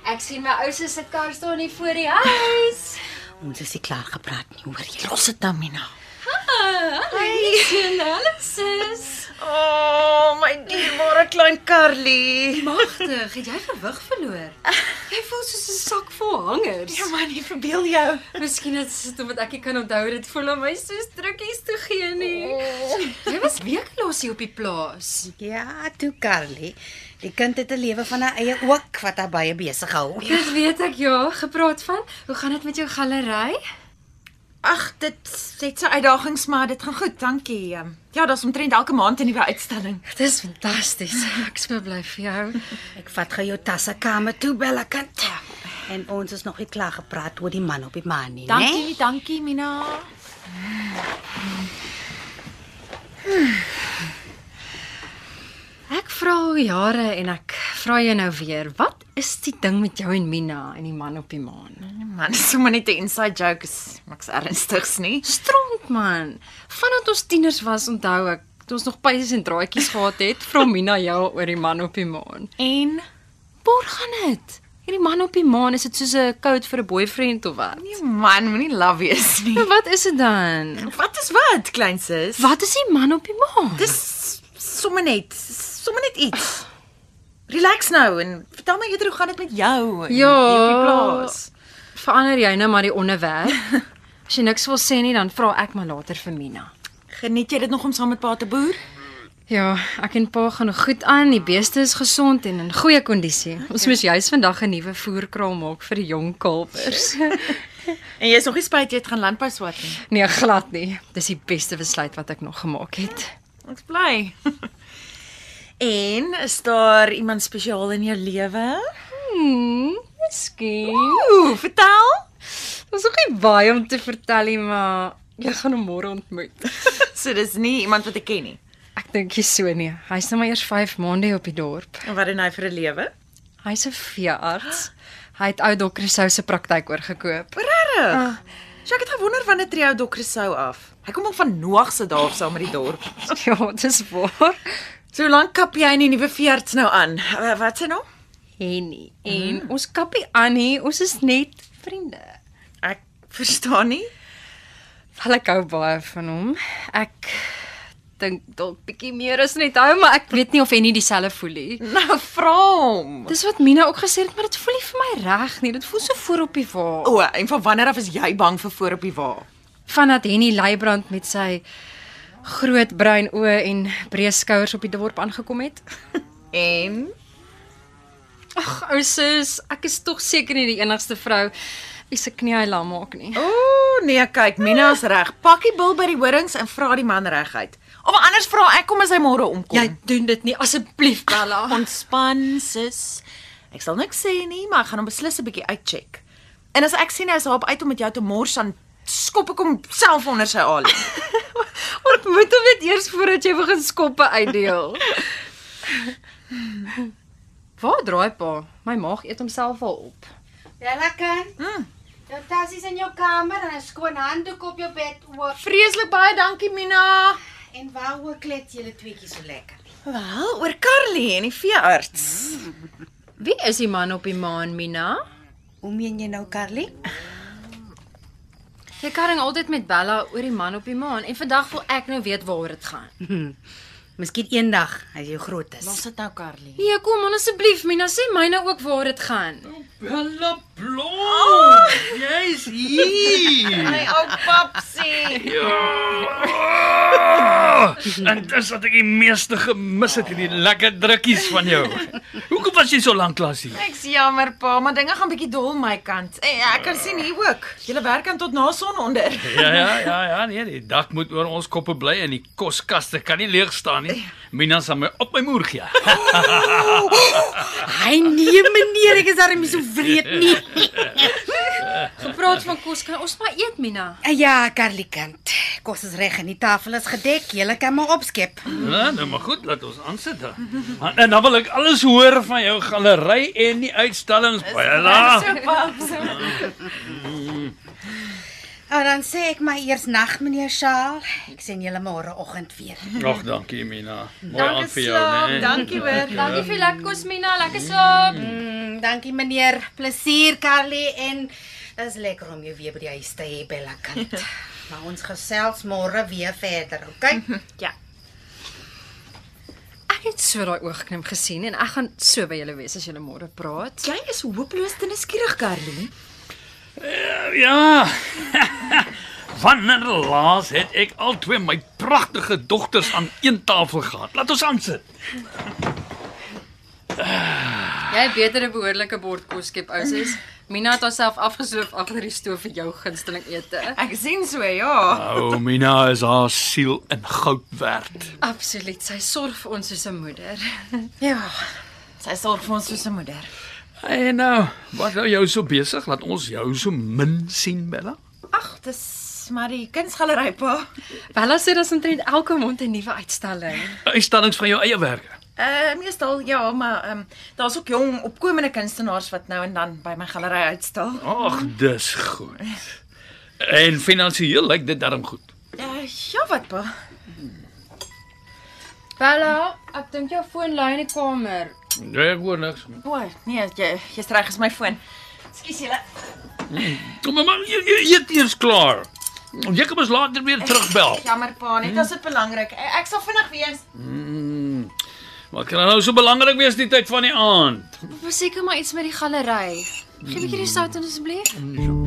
D: Ek sien my ou se se kar staan hier voor die huis.
C: Ons is nie klaar gepraat nie, hoor jy?
I: Los dit dan, Nou, Mina.
D: Hallo, hallo sis.
I: O, oh, my dierbare klein Carly.
D: Magtig, het jy gewig verloor? Jy voel soos 'n sak vol hangers.
I: Ja man, ek verbeel jou.
D: Miskien is dit omdat ek nie kan onthou dit voel om my so strukkies toe gee nie.
I: Oh.
D: Jy was weekloos hier op die plaas.
C: Ja, toe Carly. Die kind het 'n lewe van haar eie ook wat haar baie besig hou.
D: Dit weet ek ja, gepraat van. Hoe gaan dit met jou galery?
I: Ag, dit het sy uitdagings, maar dit gaan goed, dankie. Ehm, Ja, daar's omtrent elke maand 'n nuwe uitstalling.
D: Dit is fantasties. Ek is so bly vir jou.
C: Ek vat gou jou tasse kamer toe, Bella kind. En ons is nog nie klaar gepraat oor die man op die maan nie, né?
I: Dankie, dankie Mina.
D: Ek vra al jare en ek vra jou nou weer, wat is die ding met jou en Mina en die man op die maan?
I: Nee, Man, *laughs* dis sommer net 'n inside joke, is niks ernstigs nie.
D: Stront man. Vandat ons tieners was, onthou ek, toe ons nog pyse en draadjies gehad het, vra Mina jou al oor die man op die maan.
I: En
D: Waar gaan dit? Hierdie man op die maan, is dit soos 'n code vir 'n boyfriend of wat?
I: nee man, moenie laf wees nie.
D: Maar wat is dit dan?
I: Wat is Nee. wat, klein sis?
D: Wat is die man op die maan?
I: Dis sommer net, sommer net iets. Relax nou en vertel my eerder hoe gaan dit met jou en
D: Ja.
I: hier op die plaas?
D: Verander jy nou maar die onderwerp? As jy niks wil sê nie, dan vra ek maar later vir Mina.
I: Geniet jy dit nog om saam met pa te boer?
D: Ja, ek en Pa gaan nog goed aan. Die beeste is gesond en in goeie kondisie. Ons moes juis vandag 'n nuwe voerkraal maak vir die jong *laughs* kalvers.
I: En jy's nog nie spyt jy het gaan landbou swat nie.
D: Nee, glad nie. Dis die beste besluit wat ek nog gemaak het.
I: Ek's bly. *laughs* en is daar iemand spesiaal in jou lewe?
D: Hmm, miskien.
I: Ooh, vertel.
D: Ons het nie baie om te vertel nie, maar jy gaan hom môre ontmoet.
I: *laughs*
D: *laughs*
I: So dis nie iemand wat ek ken nie.
D: Ek dink jy so nie. Hy's nou maar eers 5 maande op die dorp.
I: En wat doen hy vir 'n lewe?
D: Hy's 'n veearts. Hy het ou dokter Rousseau se praktyk oorgekoop. *laughs*
I: Regtig? Ah. So ek het gewonder wanneer tree ou dokter Sou af. Hy kom al van Noag se dae af saam met die dorp.
D: Ja, dis waar.
I: So lank kap jy in die nuwe veerds nou aan. Uh, wat se nou?
D: Henny. En mm. ons kappie Annie, ons is net vriende.
I: Ek verstaan nie.
D: Wel ek hou baie van hom. Ek dink dalk bietjie meer as net hou, maar ek weet nie of Henny dieselfde voel nie.
I: Nou vra hom.
D: Dis wat Mina ook gesê het, maar dit voel nie vir my reg nie. Dit voel so voor op die wa.
I: O, en van wanneer af is jy bang vir voor op die wa?
D: Vandat Henny Leibrand met sy groot bruin oë en breë skouers op die dorp aangekom het.
I: En
D: *laughs* Ag, ou sis, ek is tog seker nie die enigste vrou wie se knie hy lam maak nie.
I: o, nee, kyk, Mina is reg. Pak die bil by die horings en vra die man reguit. Of anders vra ek kom as hy môre omkom.
D: Jy doen dit nie asseblief, Bella. *laughs*
I: ontspan, sis. Ek sal niks sê nie, maar ek gaan hom beslis 'n bietjie uitcheck. En as ek sien hy is op uit om met jou te mors, dan skop ek hom self onder sy aal.
D: *laughs* Ontmoet hom net eers voordat jy begin skoppe uitdeel. Waar draai pa? My maag eet homself al op.
C: Ja, lekker. Mm. Jou tas is in jou kamer en 'n skoon handdoek op jou bed oop.
I: Vreeslik baie dankie, Mina.
C: En waaroor klet julle tweeetjies so lekker?
I: *laughs* Wel, oor Carly en die veearts.
D: Wie is die man op die maan, Mina?
C: Hoe meen jy nou, Carly?
D: Jy karring altyd met Bella oor die man op die maan en vandag wil ek nou weet waaroor dit gaan.
C: Miskien eendag as jy groot is.
I: dit nou, Carly.
D: Nee, kom on asseblief, Mina, sê my nou ook waar dit gaan.
G: Bella Blom, jy's hier.
I: My ou papsie. *laughs*
G: Ja! En dis wat ek die meeste gemis het, hierdie lekker drukkies van jou. Hoekom was jy so lank klas hier?
I: Ek's jammer pa, maar dinge gaan bietjie dol my kant. En ek kan sien hier ook. Julle werk aan tot na son onder.
G: Ja ja ja ja, nee, die dak moet oor ons koppe bly en die koskaste kan nie leeg staan nie. Mina sal my op my moer gee.
C: Hy nee, meneer, ek is darem nie so wreed nie.
D: Gepraat van kos, kan ons maar eet, Mina?
C: Ja, Carly kind. Kos is reg en die tafel is gedek. Jy kan maar opskep.
G: Ja, nou maar goed, laat ons aansit dan. En, en dan wil ek alles hoor van jou Ah. galery en die uitstallings. Bella.
I: So paps.
C: En Ah, dan sê ek my eers nag meneer Shaal. Ek sien julle môre oggend weer.
G: Ag, dankie Mina. Mooi
I: Dankie
G: aan vir jou, nee. né?
I: Dankie hoor.
D: Dankie vir lekker kos Mina, lekker slaap.
C: Mm, dankie meneer. Plesier Carly en dis lekker om jou weer by die huis te hê Bella
D: *laughs*
C: kind. maar ons gesels môre weer verder, okay?
I: Ja.
D: Ek het so daai oogknip gesien en ek gaan so by julle wees as julle môre praat.
I: Jy is hopeloos te nuuskierig, Carly.
G: Ja. *laughs* Wanneer laas het ek al twee my pragtige dogters aan een tafel gehad? Laat ons aan sit.
D: Jy het beter 'n behoorlike bord kos skep ousies. Mina het haarself afgesloof agter die stoof vir jou gunsteling ete.
I: Ek sien so, ja.
G: Ou Mina is haar siel in goud werd.
D: Absoluut, sy sorg vir ons soos 'n moeder.
I: *laughs* Ja. Sy sorg vir ons soos 'n moeder.
G: En nou, wat hou jou so besig? Laat ons jou so min sien, Bella.
I: Ag, dis maar die kunsgalery pa.
D: Bella sê daar's omtrent elke maand 'n nuwe uitstalling.
G: Uitstallings van jou eie werke.
I: Uh meestal ja, maar ehm um, daar's ook jong opkomende kunstenaars wat nou en dan by my galery uitstal.
G: Ag, dis goed. En finansiëel lyk dit darm goed.
I: Uh, ja, wat pa?
D: Bella, ek dink jou foon lê in die kamer.
G: Nee, ek hoor niks.
I: O, nee, jy jy's reg, is my foon. Ekskuus julle.
G: Kom maar, maar, jy jy eet eers klaar. Jy kan mos later weer terugbel.
I: Jammer pa, net as dit belangrik. Eh, Ek sal vinnig wees.
G: Wat Hmm. kan nou so belangrik wees die tyd van die aand?
D: Verseker maar iets met die galery. Gee 'n bietjie die sout in asseblief.
G: nou?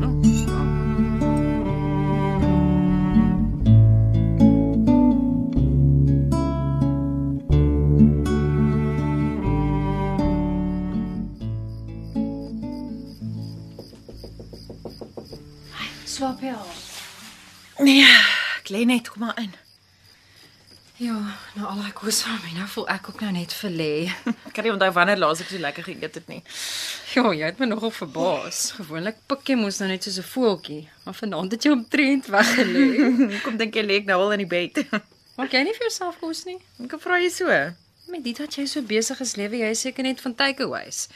D: Slaap jy al?
I: Nee, ek lê net kom maar in.
D: Ja, nou al daai kos van my, nou voel ek ook nou net verlê.
I: *laughs* Ek kan nie onthou wanneer laas ek so lekker geëet het nie.
D: Ja, jy het my nogal verbaas. Gewoonlik pik jy mos nou net soos 'n voeltjie, maar vanaand het jy omtrent weggelê.
I: *laughs* Hoekom dink jy lê ek nou al in die bed?
D: *laughs* Maak jy nie vir jouself kos nie?
I: Ek vra jy so.
D: Met dit dat jy so besig is lewe, jy is seker net van takeaways.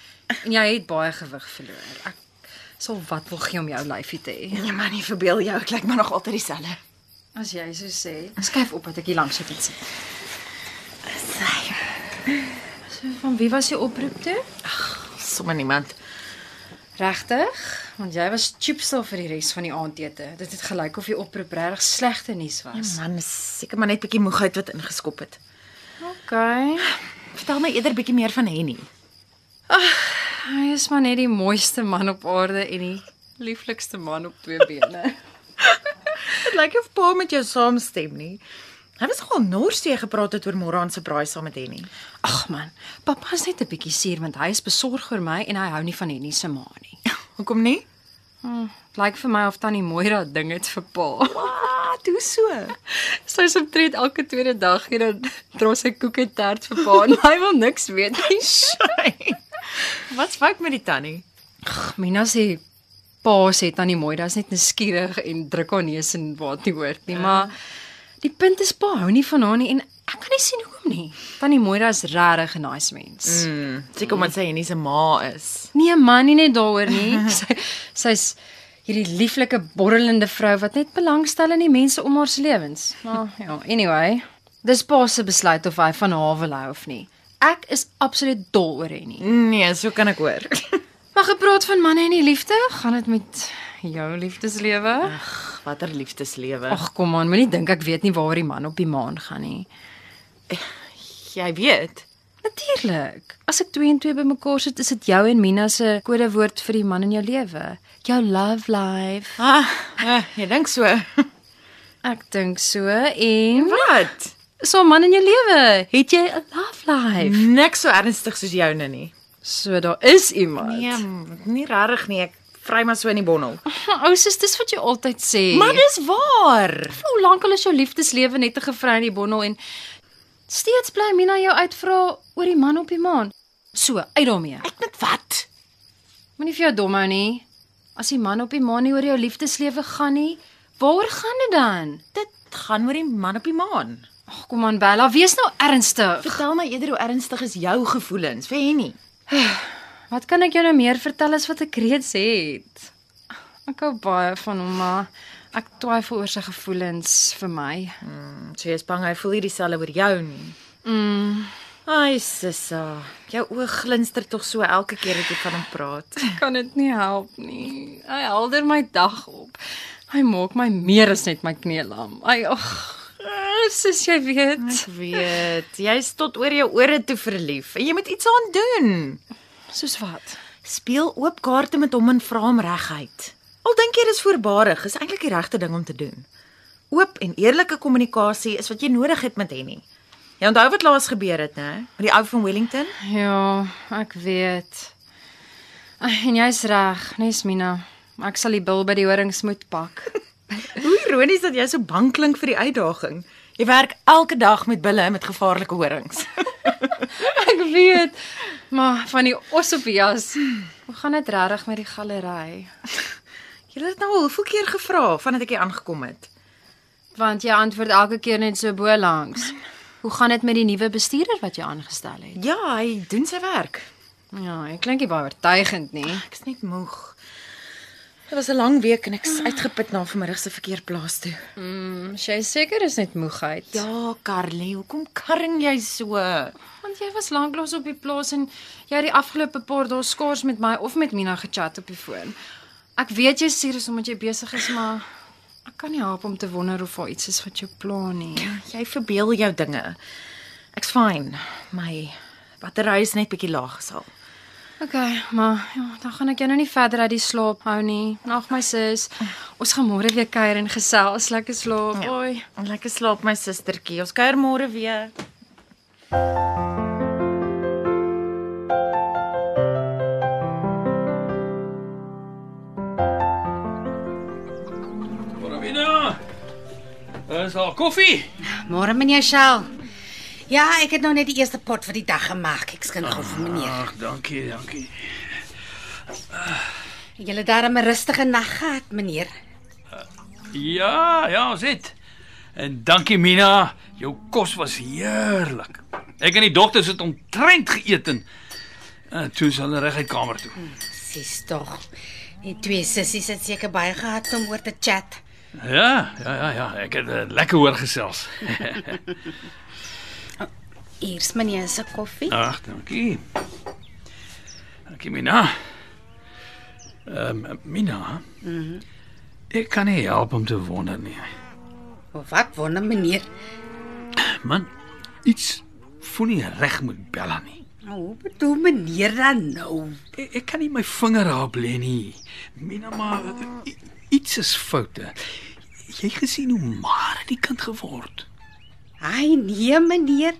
D: En jy het baie gewig verloor. Ek sal wat wil gee om jou lyfie te hê.
I: Nee man, nie verbeel jou, ek lyk maar nog altyd dieselfde.
D: As jy so sê, skuif op dat ek hier langs jou kan sit. So, van wie was jou oproep toe?
I: Sommige niemand.
D: Regtig? Want jy was chipsel vir die res van die aandete. Dit het gelyk of die oproep regtig slegte nuus was.
I: Man, is seker maar net bietjie moegheid wat ingeskop het.
D: Okay.
I: Vertel my eerder bietjie meer van Henny.
D: Hy is maar net die mooiste man op aarde en die lieflikste man op twee bene.
I: Dit lyk of pa met jou saamstem nie. Hy was nogal nors toe jy gepraat het oor môre aan se braai saam met Henny.
D: *laughs* Ag man, pappa is net 'n bietjie suur want hy is besorg oor my en hy hou nie van Henny se ma nie.
I: Hoekom nie?
D: Dit *laughs* lyk vir my of tannie Moira ding het vir pa.
I: Wat, hoe so?
D: *laughs* Sy's omtrent elke tweede dag en dan dra sy koek en tert vir pa en hy wil niks weet *laughs* nie.
I: Wat's fout met die tannie?
D: Ag, Mina sê pa sê tannie Moira is net nuuskierig en druk haar neus in waar dit nie hoort nie, maar die punt is pa hou nie van haar nie en ek kan nie sien hoekom nie. Tannie Moira is regtig 'n nice mens. Mm.
I: Mm, seker omdat sy Henny se ma is.
D: Nee man, nie net daaroor nie. *laughs* Sy sy's hierdie lieflike borrelende vrou wat net belangstel in die mense om haar se lewens. Maar ja, anyway, dis pa se besluit of hy van haar wil hou of nie. Ek is absoluut dol oor Henny.
I: Nee, so kan ek hoor.
D: Maar gepraat van manne en die liefde, gaan dit met jou liefdeslewe?
I: Watter liefdeslewe.
D: Ag kom aan, moenie dink ek weet nie waar die man op die maan gaan nie.
I: jy weet.
D: Natuurlik. As ek 2 en 2 bymekaar sit, is dit jou en Mina se kodewoord vir die man in jou lewe. Jou love life.
I: Ah, eh, jy dink so.
D: Ek dink so en
I: Wat?
D: so 'n man in jou lewe, het jy 'n love life?
I: Niks so ernstig soos joune nie. Nee,
D: So daar is iemand. *laughs*
I: m- nie regtig nie. Ek vry maar so in die bondel.
D: ou sis, dis wat jy altyd sê.
I: Maar dis waar.
D: hoe lank al is jou liefdeslewe net 'n gevry in die bondel en steeds bly Mina jou uitvra oor die man op die maan. So, uit daarmee.
I: Ek met wat?
D: Moenie vir jou dom hou nie. As die man op die maan nie oor jou liefdeslewe gaan nie, waaroor gaan dit dan?
I: Dit gaan oor die man op die maan.
D: Ag kom aan Bella, wees nou ernstig.
I: Vertel my eerder hoe ernstig is jou gevoelens vir Henny?
D: Wat kan ek jou nou meer vertel as wat ek reeds het? Ek hou baie van hom, maar Ek twyfel oor sy gevoelens vir my.
I: So jy's Mm, bang hy voel nie dieselfde oor jou nie. Mm. Ai sissa, jou oë glinster tog so elke keer as jy van hom praat.
D: Kan dit nie help nie. Hy helder my dag op. Hy maak my meer as net my knie lam. Ai, ag. Soos jy weet,
I: *laughs* Ek weet, jy's tot oor jou ore toe verlief en jy moet iets aan doen.
D: soos wat.
I: Speel oop kaarte met hom en vra hom reguit. Al dink jy dis voorbarig, is eintlik die regte ding om te doen. Oop en eerlike kommunikasie is wat jy nodig het met Henny. Jy onthou wat laas gebeur het, né? Met die ou van Wellington?
D: Ja, ek weet. Ai, En jy's reg, nes Mina. Ek sal die bil by die horings moet pak.
I: Hoe ironies dat jy so bang klink vir die uitdaging. Jy werk elke dag met bulle met gevaarlike *laughs* horings.
D: *laughs* Ek weet. Maar van die os op die jas. Hoe gaan dit regtig met die galery?
I: Jy het nou al hoeveel keer gevra vandat ek hier aangekom het?
D: Want jy antwoord elke keer net so bo langs. Hoe gaan dit met die nuwe bestuurder wat jy aangestel het?
I: Ja, hy doen sy werk.
D: Ja, jy klink nie baie oortuigend nie.
I: Ek's net moeg. Dit was 'n lang week en ek's uitgeput na vanmiddag se verkeerplaas toe.
D: Mm, sy is seker is net moegheid. Ja,
I: Ja, Carly, hoekom karring jy so?
D: want jy was lanklaas op die plaas en jy het die afgelope paar dae skaars met my of met Mina gechat op die foon. Ek weet jy's serius omdat jy besig is, maar ek kan nie help om te wonder of daar iets is wat jou pla nie.
I: Jy verbeel jou dinge. Ek's fyn. My battery is net bietjie laag gesal.
D: OK, maar ja, dan gaan ek jou nou nie verder uit die slaap hou nie. Nag my sis. Ons gaan môre weer kuier en gesels, lekker slaap. Ja. Oei.
I: Lekker slaap my sustertjie. Ons kuier môre weer.
G: Corina. Is daar koffie?
C: Môre meneer Shaal. Ja, ek het nou net die eerste pot vir die dag gemaak. Ek skink
G: Ah.
C: gou vir meneer.
G: Ag, dankie, dankie.
C: Julle darm 'n rustige nag gehad, meneer.
G: Ja, ja, sit. En dankie Mina, jou kos was heerlik. Ek en die dogters het omtrent geëet en uh, toe is hulle reguit kamer toe.
C: Sis tog. Die twee sissies het seker baie gehad om oor te chat.
G: Ja, ja, ja, ja, ek het uh, lekker hoor gesels.
C: Hier's meneer se koffie.
G: Ag, dankie. Dankie Mina. Ehm um, Mina. Mhm. Mm ek kan nie help om te nee. wonder nie.
C: Of Oh, Wat wonder meneer?
G: Man, iets voel nie reg met Bella nie.
C: Nou, Hoe bedoel meneer dan nou?
G: Ek, ek nee. kan nie my vinger daarop lê nie. Mina maar i- iets is foute. Jy gesien hoe maar die kind geword.
C: Ai nee meneer.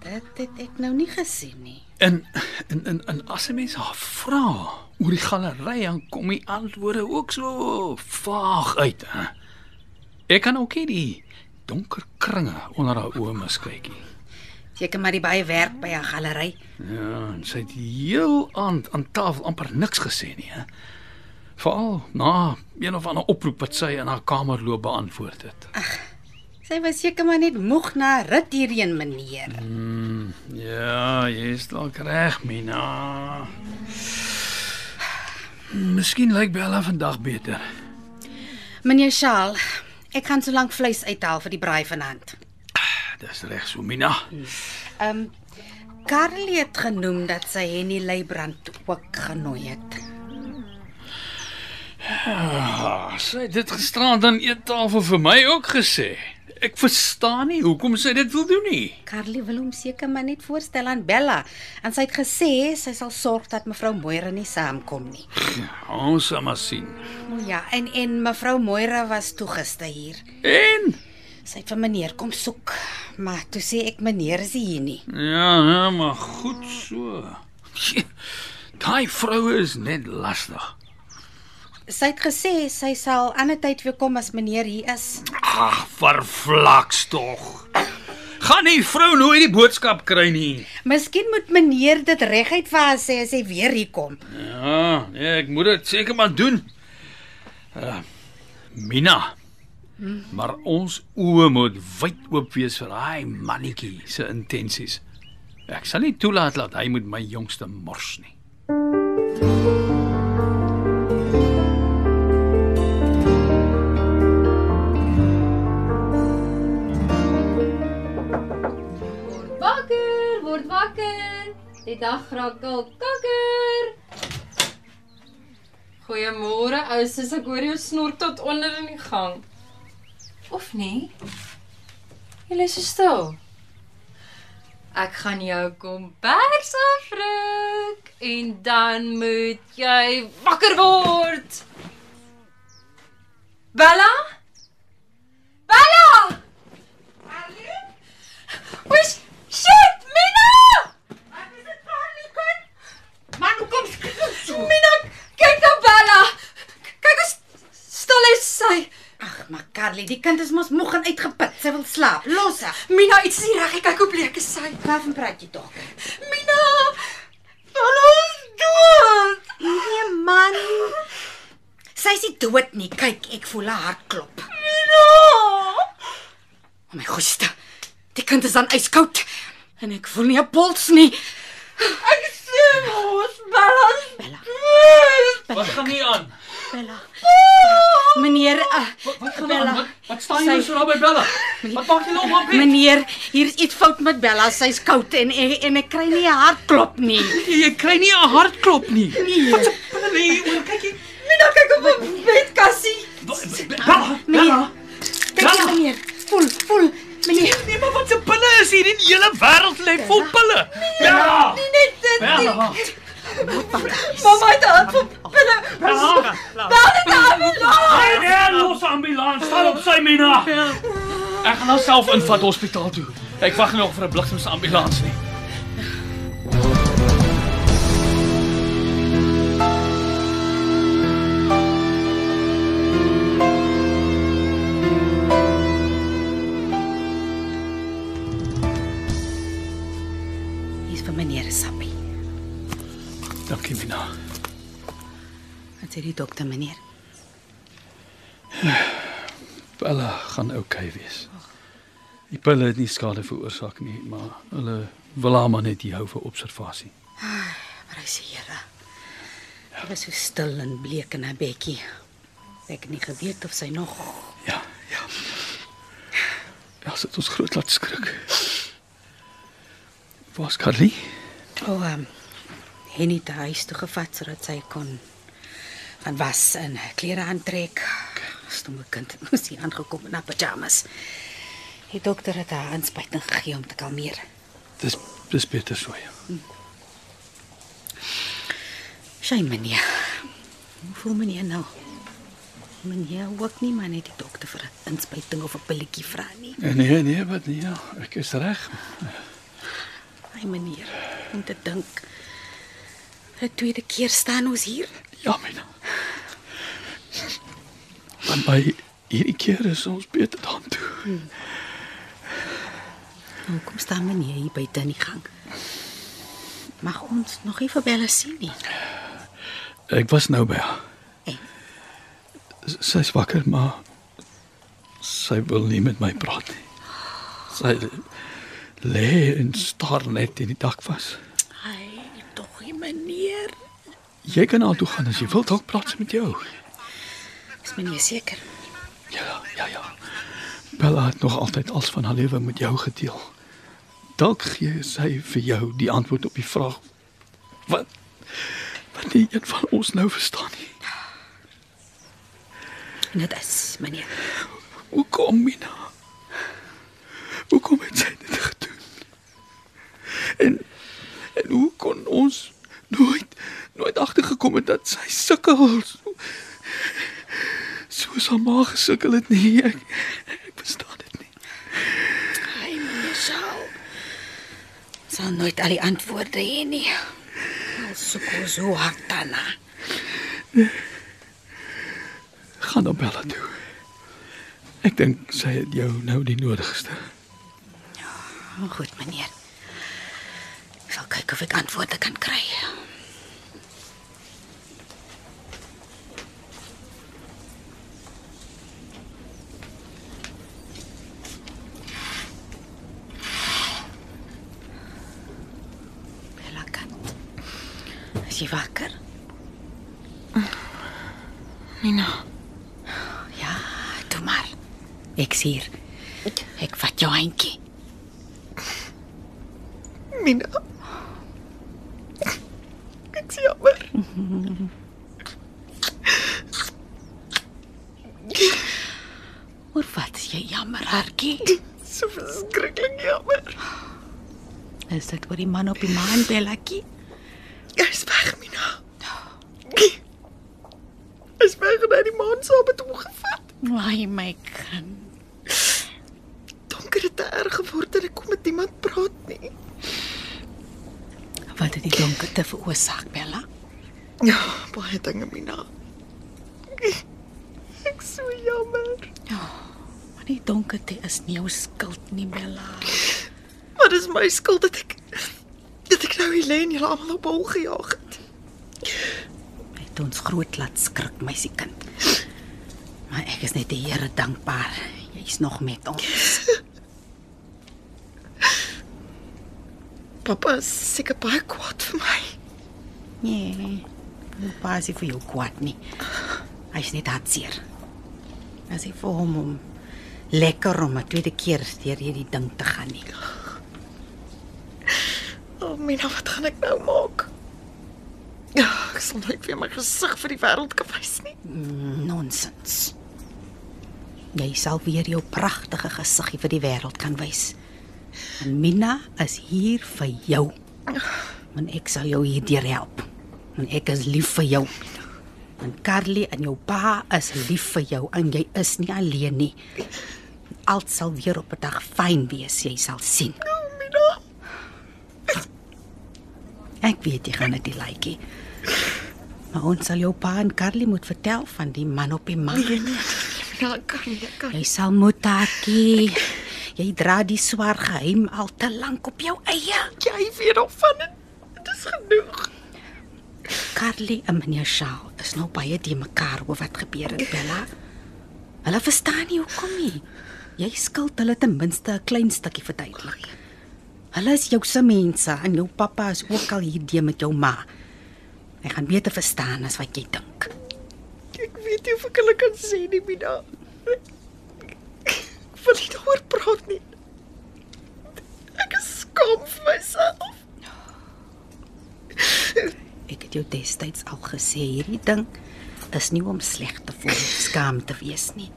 C: Dit het ek nou nie gesien nie.
G: En en en, en as 'n mens haar vra oor die galery dan kom die antwoorde ook so vaag uit. Hè? Ek kan ook nie die donker kringe onder haar oë miskykie.
C: Seker maar die baie werk by 'n galery.
G: Ja, en sy het die heel aand aan tafel amper niks gesê nie, hè. Veral na een of ander oproep wat sy in haar kamer loop beantwoord het.
C: Sy was seker maar net moeg na 'n rit hierheen meneer.
G: Ja, jy is dalk reg, Mina. Miskien lyk Bella vandag beter.
C: Meneer Shaal, ek gaan so lank vleis uithaal vir die braai vanaand.
G: Dis reg so, Mina.
C: Ehm um, Carly het genoem dat sy Henny Leybrand ook genooi het.
G: Ah, sy het dit gisterand aan eettafel vir my ook gesê. Ek verstaan nie hoekom sy dit wil doen nie.
C: Carly wil hom seker maar net voorstel aan Bella en sy het gesê sy sal sorg dat mevrou Moira nie saamkom nie.
G: Ons sal maar sien.
C: O ja, en en mevrou Moira was toe gister hier.
G: En
C: Sy het vir meneer kom soek, maar toe sê ek meneer is nie hier nie.
G: Ja, ja, maar goed so. *laughs* Tjie, Daai vrou is net lastig.
C: Sy het gesê sy sal ander tyd weer kom as meneer hier is.
G: Ag, vervlaks tog. Gaan die vrou nooit die boodskap kry nie.
C: Miskien moet meneer dit reguit vir haar sê as hy weer hier kom.
G: Ja, nee, ek moet dit seker maar doen. Uh, Mina. Maar ons oë moet wyd oop wees vir daai mannetjie se intensies. Ek sal nie toelaat dat hy met my jongste mors nie.
D: word wakker. Die dag raak al kakker. Goeiemôre, ou sis. Ek hoor jou snork tot onder in die gang. Of nie? Jy lê so stil. Ek gaan jou kombers afruk en dan moet jy wakker word. Bella? Bella! Hallo? Wes, shit, Mina! Wat is dit vir Nikon? Man, hoe kom skrik so? Mina, kyk na Bella. K- Kyk hoe st- stil is sy.
C: Ag, maar Carly, die kind is mos moeg en uitgeput. Sy wil slaap. Los haar.
D: Mina, iets is nie reg. Kyk hoe bleek is sy.
C: Waarvan praat jy tog?
D: Mina! Hallo, dood.
C: Nee man. Sy is nie dood nie. Kyk, ek voel haar hart klop.
D: Mina!
C: O my goeie. Die kind is aan yskoud en ek voel nie 'n pols nie.
D: Ek sê mos Bella is
C: Bella.
D: dood.
G: Wat gaan nie aan?
C: Bella. Meneer, uh,
G: Wat gaan
C: Bella.
G: aan? Wat, wat staan jy nou so naby Bella? Wat maak jy nou op my?
C: meneer, hier is iets fout met Bella. Sy's koud en en, en ek kry nie 'n hartklop nie.
G: Jy kry nie 'n hartklop nie. Wat 'n pille hier oor. Kyk hier.
D: Mina kyk op 'n bedkassie.
G: Bella,
C: Meneer, kyk hier
G: Bella.
C: meneer. Voel, voel. Meneer,
G: Nee, maar wat 'n pille is hier? Die hele wêreld lê vol pille. Bella.
C: Nee,
D: Nie net dit nie.
G: Bella.
D: Mamma het haar van binne. Bel dit aan my laat.
G: Hey, los ambulans, staan op sy Mina. Ek gaan myself invat hospitaal toe. Ek wag nog vir 'n bliksemse ambulans nie.
C: hier's vir meneer Sappie.
G: Dankie Mina.
C: Wat sê die dokter meneer?
G: Bella gaan oukei okay wees. Die pille het nie skade veroorsaak nie, maar hulle wil haar maar net hier hou vir observasie.
C: Prys die Here. Sy was so stil en bleek in haar bedjie. Ek het nie geweet of sy nog
G: Ja, ja. Ja, sy het ons groot laat skrik. Waar's Carly?
C: O, ehm um, Henny te huis toe gevat sodat sy kon gaan was en klere aantrek. Stomme kind, *laughs* het moes hier aangekom in haar pyjamas. Die dokter het haar inspuiting gegee om te kalmeer. Hm.
G: Dis dis beter so. Ja.
C: Sy meneer. Hoe voel meneer nou? Meneer ook nie maar net die dokter vir 'n inspuiting of 'n pilletjie vra nie.
G: Nee, nee, wat nie. Ja, ek is reg.
C: Hy meneer, om te dink. Vir 'n tweede keer staan ons hier.
G: Ja, Mina. Want by hierdie keer is ons beter dan toe.
C: Hoekom Nou, staan meneer hier buite in die gang? Mag ons nog nie vir Bella sien nie.
G: Ek was nou by haar.
C: En?
G: S- Sy's wakker, maar sy wil nie met my praat nie. Sy lê en staar net in die dak vas.
C: Ai, tog nie meneer.
G: Jy kan na haar toe gaan as jy wil, dalk praat sy met jou.
C: Is meneer seker?
G: Ja, ja, ja. Bella het nog altyd alles van haar lewe met jou gedeel. Dalk gee sy vir jou die antwoord op die vraag wat wat nie een van ons nou verstaan nie.
C: En dit is meneer.
G: Hoekom, Mina? Hoekom het sy dit gedoen? En en hoe kon ons nooit nooit agtergekom het dat sy sukkel? So, soos haar ma gesukkel het nie. Ek ek verstaan dit nie.
C: Ai, meneer sal. Sal nooit al die antwoorde hê nie. Ons soek ons hoe hard daarna.
G: Gaan na Bella toe. Ek dink sy het jou nou die nodigste.
C: Oh, goed, meneer. Ek sal kyk of ek antwoorde kan kry. Bella kind. Is jy wakker?
H: Mina,
C: Ja, toe maar. Ek is hier. Ek vat jou handjie.
J: Mina. Ek sê jammer.
C: Oor wat is jy jammer,
J: *laughs*
C: hartjie?
J: So verskriklik jammer.
C: Is dit oor die man op die maan, Belletjie?
J: Jy's weg, Mina. Is weg na die maan saam met hom gevat.
C: Ai my kind.
J: Donker het te erg geword dat ek kon met niemand praat nie.
C: Wat het die donkerte veroorsaak, Bella?
J: Ja, baie dinge, Mina. Ek is so jammer.
C: Maar die donkerte is nie jou skuld nie, Bella.
J: Maar dis my skuld dat ek dat ek nou Helene julle almal op hol gejaag het.
C: Hy het ons groot laat skrik, meisiekind. Maar ek is net die Here dankbaar. Jy's nog met ons.
J: Pappa is seker baie kwaad vir my.
C: Nee. Hoe pas hy vir jou kwaad nie. Hy's net hartseer. As hy vir hom om lekker om 'n tweede keer deur hierdie ding te gaan nie.
J: O, oh, Mina, wat gaan ek nou maak? Ja, ek sal nooit weer my gesig vir die wêreld kan wys nie.
C: Nonsens. Jy sal weer jou pragtige gesiggie vir die wêreld kan wys. En Mina is hier vir jou. En ek sal jou hierdeur help. En ek is lief vir jou. En Carly en jou pa is lief vir jou en jy is nie alleen nie. Alt sal weer op 'n dag fyn wees, jy sal sien. Ek weet jy gaan dit nie like nie. Maar ons sal jou pa en Carly moet vertel van die man op die maan.
J: Nee, Mina, ek kan nie, ek kan nie.
C: Jy sal moet hakkie. Jy dra die swaar geheim al te lank op jou eie.
J: Jy weet al van dit. Dit is genoeg.
C: Carly en meneer Shaw is nou baie te mekaar oor wat gebeur het, Bella. Hulle verstaan nie hoekom nie. Jy skuld hulle ten minste 'n klein stukkie verduidelik. Hulle is jou se mense en jou pappa is ook al hierdie met jou ma. Hy gaan beter verstaan as wat jy dink.
J: Ek weet nie of ek hulle kan sê nie, Mina. Ek wil nie daaroor praat nie. Ek is skaam vir myself.
C: Ek het jou destyds al gesê hierdie ding is nie om sleg te voel, of skaam te wees nie.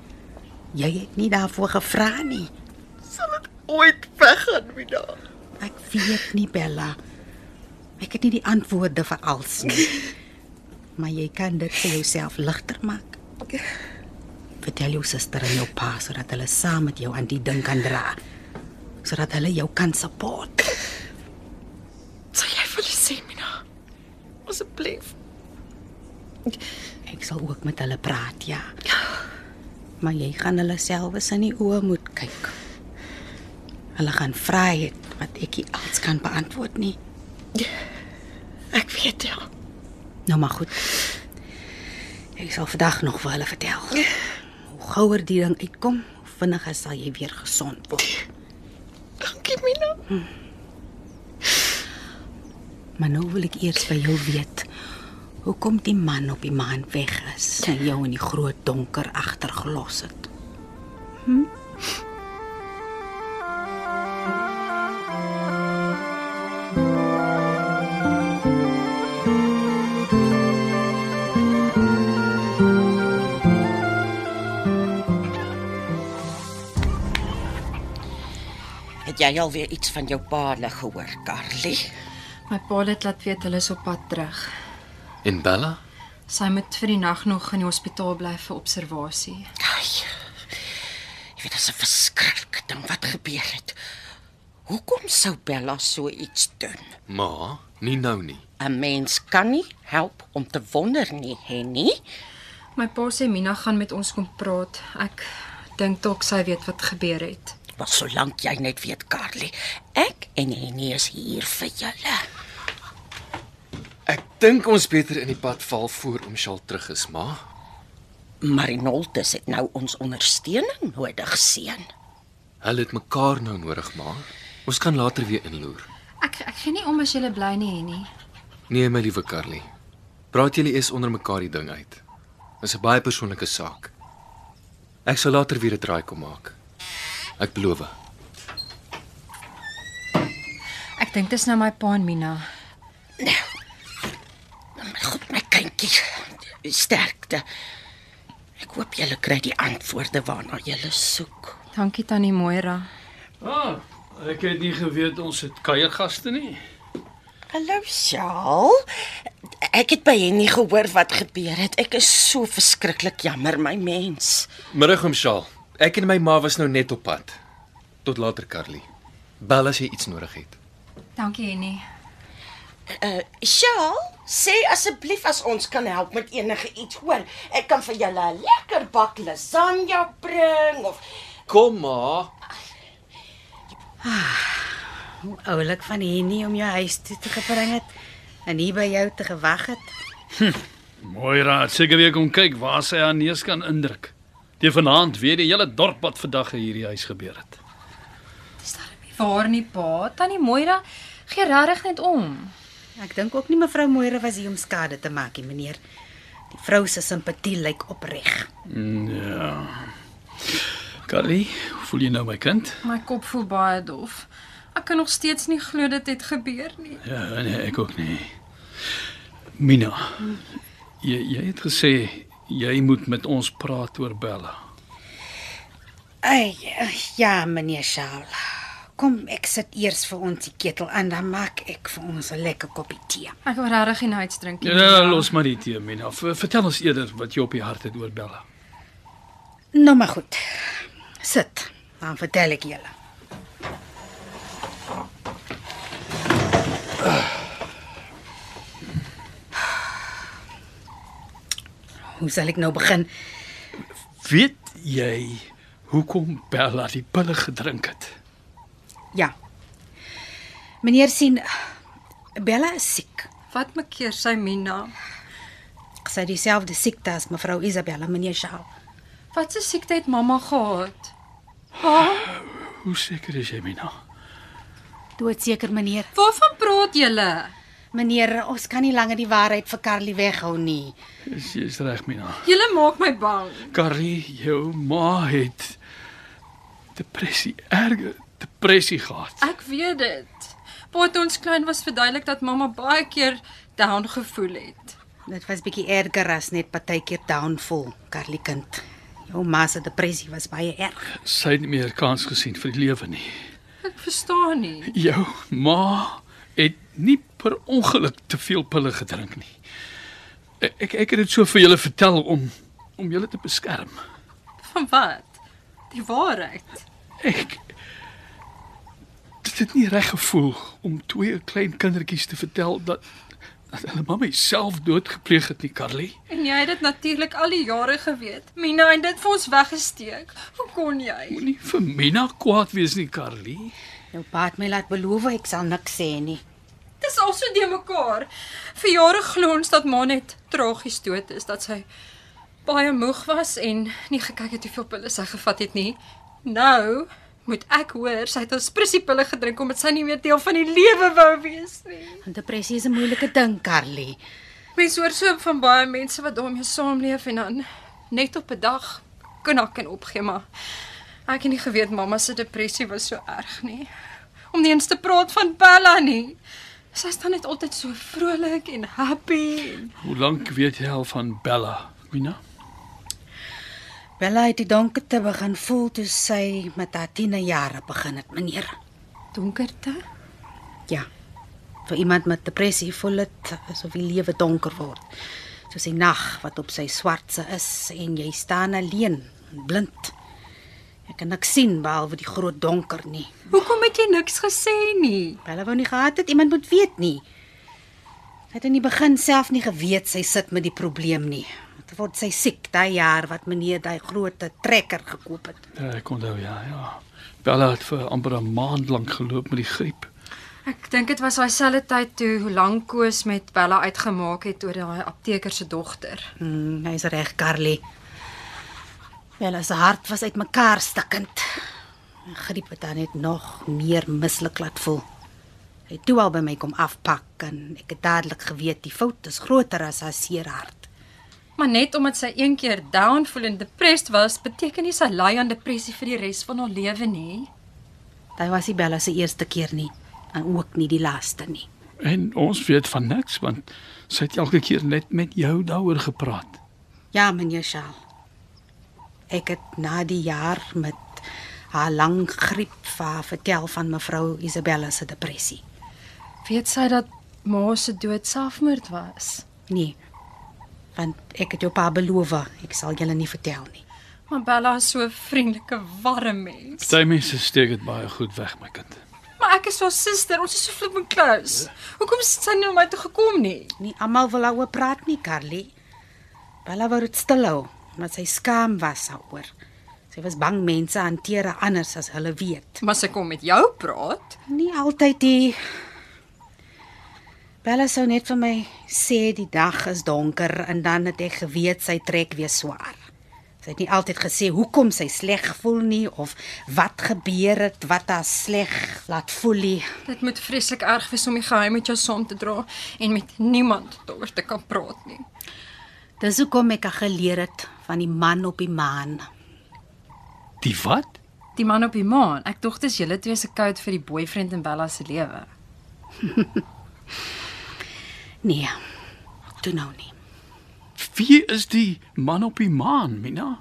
C: Jy het nie daarvoor gevra nie.
J: Sal dit ooit weggaan, Mina?
C: Ek weet nie, Bella. Ek het nie die antwoorde vir alles nie. Maar jy kan dit vir jouself ligter maak. Vertel jou suster en jou pa sodat hulle saam met jou aan die ding kan dra. Sodat hulle jou kan support.
J: Sal jy vir hulle sê, Mina? Asseblief.
C: Ek sal ook met hulle praat, ja. Maar jy gaan hulle selfs in die oë moet kyk. Hulle gaan vra het wat ek nie alts kan beantwoord nie.
J: Ek weet ja.
C: Nou maar goed. Ek sal vandag nog vir hulle vertel. Hoe gouer die ding uitkom, hoe vinniger sal jy weer gesond word. Hm.
J: Dankie, Mina.
C: Maar nou wil ek eers by jou weet. Hoekom die man op die maan weg is en jou in die groot donker agtergelos het.
E: Het jy al weer iets van jou pa hulle gehoor, Carly?
D: My pa het laat weet hulle is op pad terug.
F: En Bella?
D: Sy moet vir die nag nog in die hospitaal bly vir observasie.
E: Ai. Ek weet dit is 'n verskriklike ding wat gebeur het. Hoekom sou Bella so iets doen?
F: Ma, nie nou nie.
E: 'n Mens kan nie help om te wonder nie, Henny.
D: My pa sê Mina gaan met ons kom praat. Ek dink dalk sy weet wat gebeur het.
E: Maar solank jy net weet, Carly, ek en Henny is hier vir julle.
F: Ek dink ons beter in die pad val voor om Shaal terug is, ma.
E: Marinoltus het nou ons ondersteuning nodig, seun.
F: Hulle het mekaar nou nodig, ma. Ons kan later weer inloer.
D: Ek ek gee nie om as jy bly nie, Henny.
F: Nee, my liewe Carly. Praat julle eers onder mekaar die ding uit. Dis 'n baie persoonlike saak. Ek sal later weer 'n draai kom maak. Ek beloof.
D: Ek Ek dink dis nou my pa en Mina.
E: Goed my kindjie. Sterkte. Ek hoop julle kry die antwoorde waarna julle soek.
D: Dankie tannie Moira.
G: Ah, ek het nie geweet ons het kuiergaste nie.
E: Hallo Sjaal. Ek het by Henny gehoor wat gebeur het. Ek is so verskriklik jammer, my mens.
F: Middag om Shaal. Ek en my ma was nou net op pad. Tot later, Carly. Bel as jy iets nodig het.
D: Dankie Henny.
E: Uh Sjaal, sê asseblief as ons kan help met enige iets, hoor. Ek kan vir julle 'n lekker bak lasagne bring of
F: Kom ma.
C: Oulik van Henny om jou huis toe te gebring het en hier by jou te gewag het.
G: Mooi raad. Seker weer kom kyk waar sy haar neus kan indruk. Teen vanaand weet die hele dorp wat vandag in hierdie huis gebeur het.
D: Dis darem nie waar nie pa. Tannie Moira gee regtig net om.
C: Ek dink ook nie mevrou Moore was hier om skade te maak nie, meneer. Die vrou se simpatie lyk opreg.
G: Ja. Carly, hoe voel jy nou my kind?
D: My kop voel baie dof. Ek kan nog steeds nie glo dit het gebeur nie.
G: Ja, nee, ek ook nie. Mina, jy jy het gesê jy moet met ons praat oor Bella.
C: Ai, ja, meneer Charles. Kom, ek sit eers vir ons die ketel aan, dan maak ek vir ons 'n lekker koppie tee.
D: Ek wil regtig nie iets drink nie.
G: Ja, nee, los maar die tee, Mina. V vertel ons eerder wat jy op die hart het oor Bella.
C: Nou maar goed. Sit. Dan vertel ek julle. Hoe sal ek nou begin?
G: Weet jy hoekom Bella die pille gedrink het?
C: Ja. Meneer sien Bella is siek.
D: Wat maak keer sy Mina?
C: Sy het dieselfde siekte as mevrou Isabella, meneer Shaw.
D: Wat 'n siekte het mamma gehad?
G: Hoe seker is jy, Mina?
C: Doodseker meneer.
D: Waarvan praat julle?
C: Meneer, ons kan nie langer die waarheid vir Carly weghou nie.
G: Is jy is reg, Mina?
D: Julle maak my bang.
G: Carrie, jou ma het depressie, erge depressie gehad.
D: Ek weet dit. Pa toe ons klein was verduidelik dat mamma baie keer down gevoel het.
C: Dit was bietjie erger as net partykeer downfall, Carly kind. Jou ma se depressie was baie erg.
G: Sy het nie meer kans gesien vir die lewe nie.
D: Ek verstaan nie.
G: Jou ma het nie per ongeluk te veel pille gedrink nie. E, Ek ek het dit so vir julle vertel om om julle te beskerm.
D: Van wat? Die waarheid.
G: Ek dit het nie reg gevoel om twee klein kindertjies te vertel dat dat hulle mamma self doodgepleeg het nie, Carly.
D: En jy het dit natuurlik al die jare geweet. Mina het dit vir ons weggesteek. Hoe kon jy?
G: Moenie vir Mina kwaad wees nie, Carly.
C: Jou pa het my laat beloof ek sal niks sê nie.
D: Dis al so de mekaar. Vir jare glo ons dat ma net tragies dood is, dat sy baie moeg was en nie gekyk het hoeveel pille sy gevat het nie. Nou moet ek hoor sy het ons pressiepille gedrink omdat sy nie meer deel van die lewe wou wees nie.
C: Want depressie is 'n moeilike ding, Carly.
D: Mens hoor so van baie mense wat daarmee saamleef en dan net op 'n dag kan ek kan opgee maar ek het nie geweet mamma se depressie was so erg nie. Om nie eens te praat van Bella nie. Sy staan net altyd so vrolik en happy. En
G: Hoe lank weet jy al van Bella, Mina?
C: Bella het die donkerte begin voel toe sy met haar 10e jare begin het, meneer.
D: donkerte?
C: Ja. Vir iemand met depressie voel dit asof die lewe donker word. Soos die nag wat op sy swartse is en jy staan alleen, en blind. Jy kan niks sien behalwe die groot donker nie.
D: Hoekom het jy niks gesê nie?
C: Hulle wou nie gehad het iemand moet weet nie. Sy het in die begin self nie geweet sy sit met die probleem nie. Toe word sy siek daai jaar wat meneer daai groot trekker gekoop het.
G: Ja, ek onthou ja, ja. Bella het vir amper 'n maand lank geloop met die griep.
D: Ek dink dit was daai selfde tyd toe hoe lank Koos met Bella uitgemaak het oor daai apteker se dogter.
C: Hmm, hy's reg, Carly. Bella se hart was uitmekaar stikkend. En Griep het haar net nog meer mislik laat voel. Hy het toe al by my kom afpak en ek het dadelik geweet die fout is groter as haar seer hart.
D: Maar net omdat sy een keer down voel en depressed was, beteken nie sy ly aan depressie vir die res van haar lewe nie.
C: Dit was nie Bella se eerste keer nie. en ook nie die laaste nie.
G: En ons weet van niks want sy het elke keer net met jou daaroor gepraat.
C: Ja, meneer Shaal. Ek het na die jaar met haar lang griep vir haar vertel van mevrou Isabella se depressie.
D: Weet sy dat ma se dood selfmoord was?
C: Nee. Want ek het jou pa beloof, ek sal julle nie vertel nie.
D: Maar Bella is so 'n vriendelike, warm mens.
G: Party mense steek dit baie goed weg, my kind.
D: Maar ek is haar suster, ons is so flippend close. Hoekom het sy nie na my toe gekom nie?
C: Nie almal wil daaroor praat nie, Carly. Bella wou dit stilhou, want sy skaam was daaroor. Sy was bang mense hanteer haar anders as hulle weet.
D: Maar sy kom met jou praat.
C: Nie altyd die Bella sou net vir my sê die dag is donker en dan het ek geweet sy trek weer swaar. Sy het nie altyd gesê hoekom sy sleg voel nie of wat gebeur het wat haar sleg laat voel nie.
D: Dit moet vreeslik erg wees om die geheim met jou saam te dra en met niemand daaroor te kan praat nie.
C: Dis hoekom ek haar geleer het van die man op die maan.
G: Die wat?
D: Die man op die maan, ek dink dis julle twee se code vir die boyfriend in Bella se lewe.
C: Nee. Toe nou nie.
G: Wie is die man op die maan, Mina?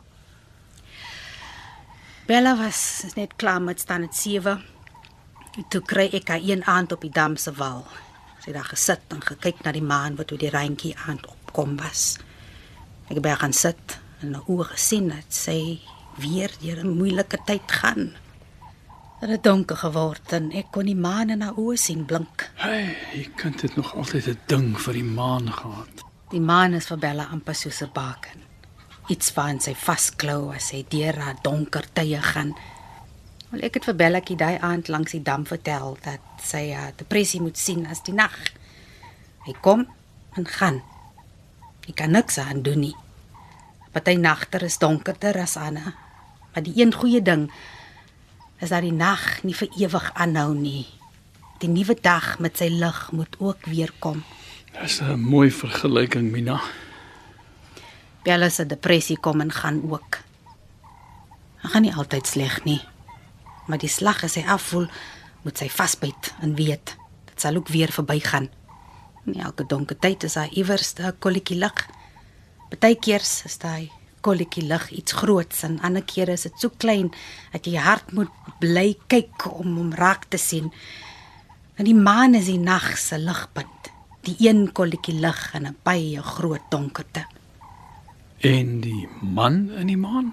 C: Bella was net klaar met staan dit 7. Toe kry ek haar een aand op die dam se wal. Sy het daar gesit en gekyk na die maan wat oor die randjie aan het opkom was. Ek het by haar gaan sit en haar oë gesien dat sy weer deur 'n moeilike tyd gaan. Dit het donker geword en ek kon die maan in haar oë sien blink.
G: Hey, jy kan dit nog altyd 'n ding vir die maan gehad.
C: Die maan is vir Bella amper soos 'n baken. Iets van sy vasklou as hy deur haar donker tye gaan. Wel ek het vir Belletjie daai aand langs die dam vertel dat sy haar depressie moet sien as die nag. Hy kom en gaan. Jy kan niks aan doen nie. Party nagter is donkerder as ander. Maar die een goeie ding is dat die nag nie vir ewig aanhou nie. Die nuwe dag met sy lig moet ook weer kom.
G: Dis 'n mooi vergelyking, Mina.
C: Bella se depressie kom en gaan ook. Hy gaan nie altyd sleg nie. Maar die slag as hy afvoel, moet sy vasbyt en weet dit sal ook weer verbygaan. In elke donker tyd is daar iewers 'n kolletjie lig. Partykeers is daai kolletjie lig iets groots en ander kere is dit so klein dat jy jou hart moet bly kyk om hom raak te sien. En die maan is die nag se ligpunt, die een kolletjie lig in 'n baie groot donkerte.
G: En die man in die maan?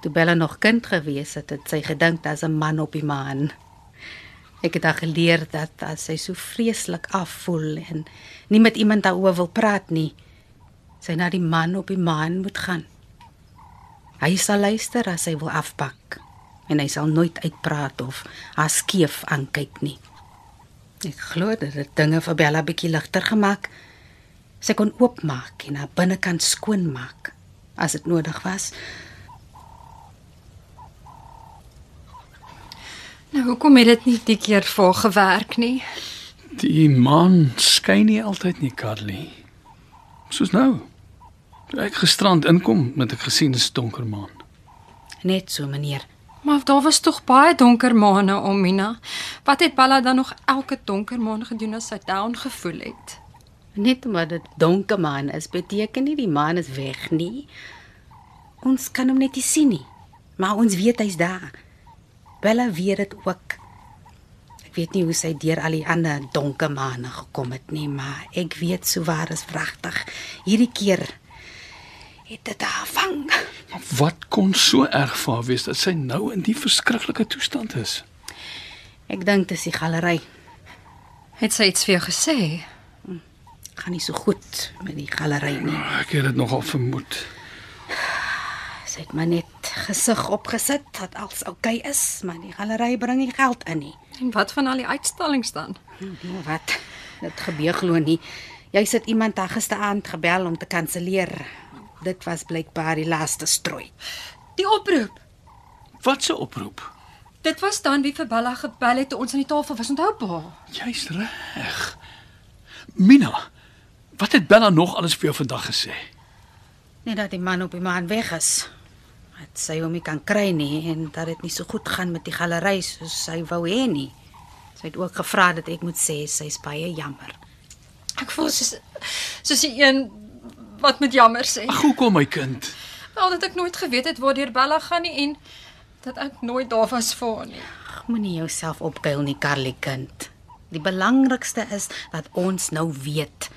C: Toe Bella nog kind gewees het, het sy gedink daar's 'n man op die maan. Ek het haar geleer dat as sy so vreeslik afvoel en nie met iemand daaroor wil praat nie, sy na die man op die maan moet gaan. Hy sal luister as hy wil afpak en hy sal nooit uitpraat of haar skeef aankyk nie. Ek glo dit het dinge vir Bella bietjie ligter gemaak. Sy kon oopmaak en haar binnekant skoonmaak as dit nodig was.
D: Nou hoekom het dit nie die keer vir haar gewerk nie?
G: Die maan skyn nie altyd nie, Carly. Soos nou. Toe ek gisterand inkom, het ek gesien dis donker maan.
C: Net so, meneer.
D: Maar daar was tog baie donker maande om Mina. Wat het Bella dan nog elke donker maand gedoen as sy down gevoel het?
C: Net omdat dit donker maan is, beteken nie die maan is weg nie. Ons kan hom net nie sien nie, maar ons weet hy's daar. Bella weet dit ook. Ek weet nie hoe sy deur al die ander donker maane gekom het nie, maar ek weet souwaar is pragtig. Hierdie keer het dit haar vang.
G: Maar wat kon so erg vir haar wees dat sy nou in die verskriklike toestand is?
C: Ek dink dis die galery.
D: Het sy iets vir jou gesê?
C: Gaan nie so goed met die galery nie.
G: Ek het dit nogal vermoed.
C: Sy het maar net gesig opgesit dat alles oukei okay is, maar die galery bring nie geld in nie.
D: En wat van al die uitstallings dan?
C: Nou wat? Dit gebeur glo nie. Jy sit iemand daar gisteraand gebel om te kanselleer. Dit was blykbaar die laaste strooi.
D: Die oproep.
G: Wat 'n oproep.
D: Dit was dan wie vir Bella gebel het toe ons aan die tafel was, onthou pa?
G: Jy's reg. Mina, wat het Bella nog alles vir jou vandag gesê?
C: Net dat die man op die maan weg is. dat sy hom nie kan kry nie en dat dit nie so goed gaan met die galery soos sy wou hê nie. Sy het ook gevra dat ek moet sê sy's baie jammer.
D: Ek voel soos soos die een wat met jammer sê.
G: Ag, hoekom my kind?
D: Wel dat ek nooit geweet het waar deur Bella gaan nie en dat ek nooit daar was vir haar nie.
C: Ag, moenie jouself opkuil nie, Carly kind. Die belangrikste is dat ons nou weet.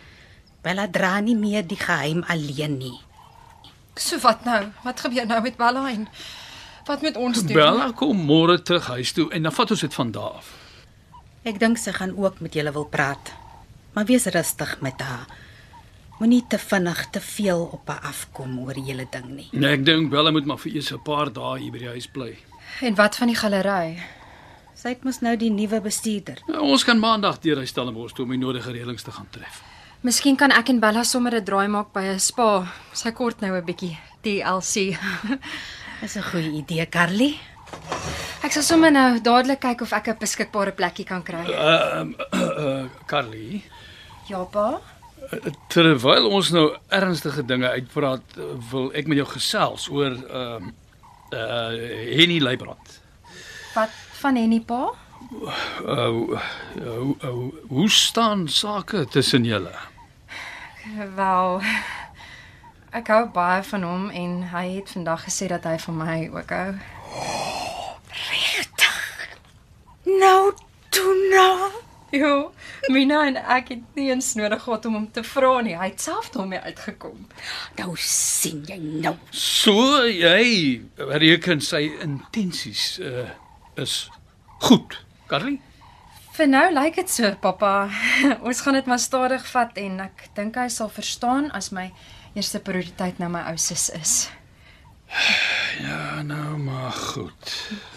C: Bella dra nie meer die geheim alleen nie.
D: So wat nou? Wat gebeur nou met Bella en wat met ons doen?
G: Bella kom môre terug huis toe en dan vat ons dit van daar af.
C: Ek dink sy gaan ook met julle wil praat. Maar wees rustig met haar. Moenie te vinnig te veel op haar afkom oor die hele ding nie.
G: Nee, ek dink Bella moet maar vir eers 'n paar dae hier by die huis bly.
D: En wat van die galery?
C: Sy het mos nou die nuwe bestuurder.
G: Nou, ons kan maandag deur hy Stellenbosch toe om die nodige reëlings te gaan tref.
D: Miskien kan ek en Bella sommer 'n draai maak by 'n spa. Sy kort nou 'n bietjie TLC.
C: Dis 'n goeie idee, Carly.
D: *laughs* ek sal sommer nou dadelik kyk of ek 'n beskikbare plekkie kan kry.
G: Ehm uh, uh, Carly, eh,
D: Ja, pa.
G: terwyl ons nou ernstige dinge uitpraat, eh, wil ek met jou gesels oor ehm uh, uh Henny Leibrand.
D: Wat van Henny pa?
G: Uh, hoe- hoe- hoe- hoe staan sake tussen julle?
D: Wel. Ek hou baie van hom en hy het vandag gesê dat hy van my ook hou.
H: Nou, toe nou.
D: Jo, Mina en ek het nie eens nodig gehad om hom te vra nie. Hy het self daarmee uitgekom.
C: Nou sien jy nou.
G: So jy reken sy intensies uh is goed, Carly?
D: Vir nou lyk dit so, pappa. *laughs* Ons gaan dit maar stadig vat en ek dink hy sal verstaan as my eerste prioriteit nou my ou sis is.
G: Ja, nou maar goed.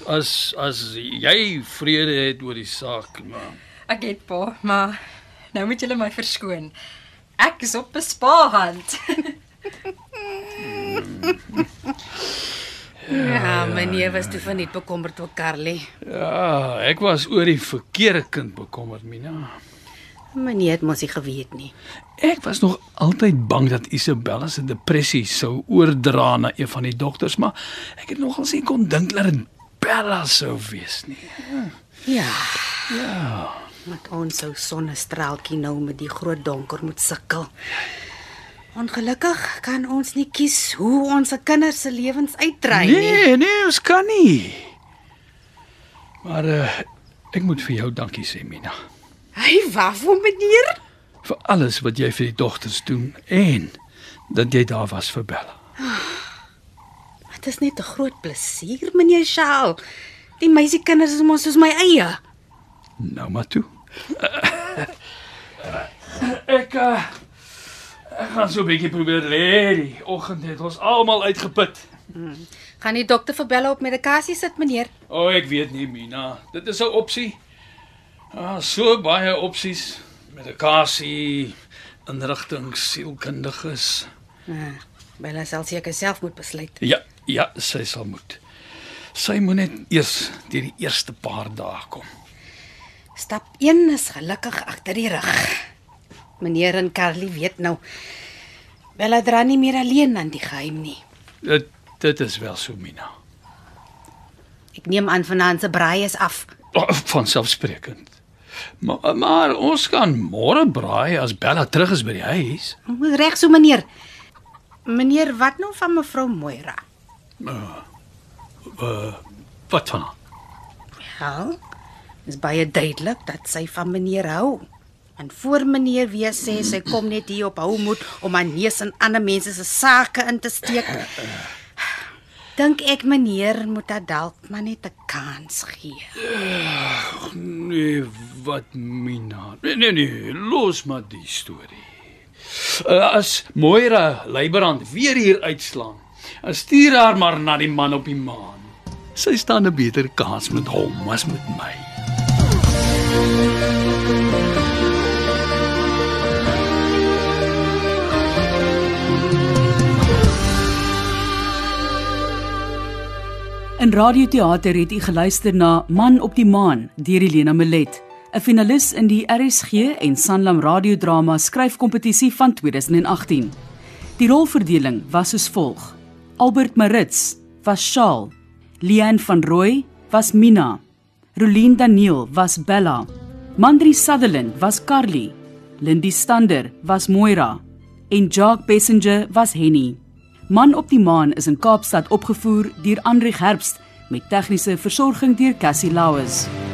G: As as jy vrede het oor die saak, maar
D: Ek het pa, maar nou moet julle my verskoon. Ek is op bespaarhand. *laughs*
C: Ja, meneer was toe van nie bekommerd oor Carly.
G: ja, ek was oor die verkeerde kind bekommerd, Mina.
C: Meneer het mos nie geweet nie.
G: Ek was nog altyd bang dat Isabella se depressie sou oordra na een van die dogters, maar ek het nogals nie kon dink dat dit Bella sou wees nie.
C: Ja. Ja. Met ons sou sonnestraaltjie nou met die groot donker moet sukkel. Ongelukkig kan ons nie kies hoe ons se kinders se lewens uitdrei nie.
G: Nee, nee, ons kan nie. Maar uh, ek moet vir jou dankie sê, Mina,
H: Hy waarvoor meneer?
G: vir alles wat jy vir die dogters doen en dat jy daar was vir Bella.
C: Dit is net 'n groot plesier, meneer Shaal. Die meisiekinders is mos soos my eie.
G: Nou maar *laughs* toe. ek uh, ek gaan so 'n bietjie probeer lê. Die oggend het ons almal uitgeput.
C: Gaan die dokter vir Bella op medikasie sit, meneer?
G: O, oh, ek weet nie, Mina. Dit is 'n opsie. Ah, so baie opsies. Medikasie, inrigting, sielkundiges.
C: Ah, Bella sal seker self moet besluit.
G: Ja, ja, sy sal moet. Sy moet net eers deur die eerste paar dae kom.
C: Stap 1 is gelukkig agter die rug. Meneer en Carly weet nou. Bella dra nie meer alleen aan die geheim nie.
G: Dit dit is wel so, Mina.
C: Ek neem aan vanaand se braai is af.
G: Oh, Vanselfsprekend. Maar maar ons kan môre braai as Bella terug is by die huis.
C: Moet reg so, meneer. Meneer, wat nou van mevrou Moira?
G: Wat van haar?
C: Wel, is baie duidelik dat sy van meneer hou. En voor meneer weer sê sy kom net hier op hou moet om haar neus in ander mense se sake in te steek. Dink ek meneer moet haar dalk maar net 'n kans gee.
G: Nee, wat Mina. Nee nee nee, los maar die storie. Uh, as Moira Leiberand weer hier uitslaan, dan stuur haar maar na die man op die maan. Sy staan 'n beter kans met hom as met my.
A: In radioteater het u geluister na Man op die maan deur Helena Milet, 'n finalis in die RSG en Sanlam radiodrama skryfkompetisie van 2018. Die rolverdeling was soos volg: Albert Marits, was Shaal, Leanne van Rooi was Mina, Rolien Daniel was Bella, Mandri Sutherland was Carly, Lindy Stander was Moira en Jacques Passenger was Henny. Man op die maan is in Kaapstad opgevoer deur Andri Gerbst met tegniese versorging deur Cassie Lauis.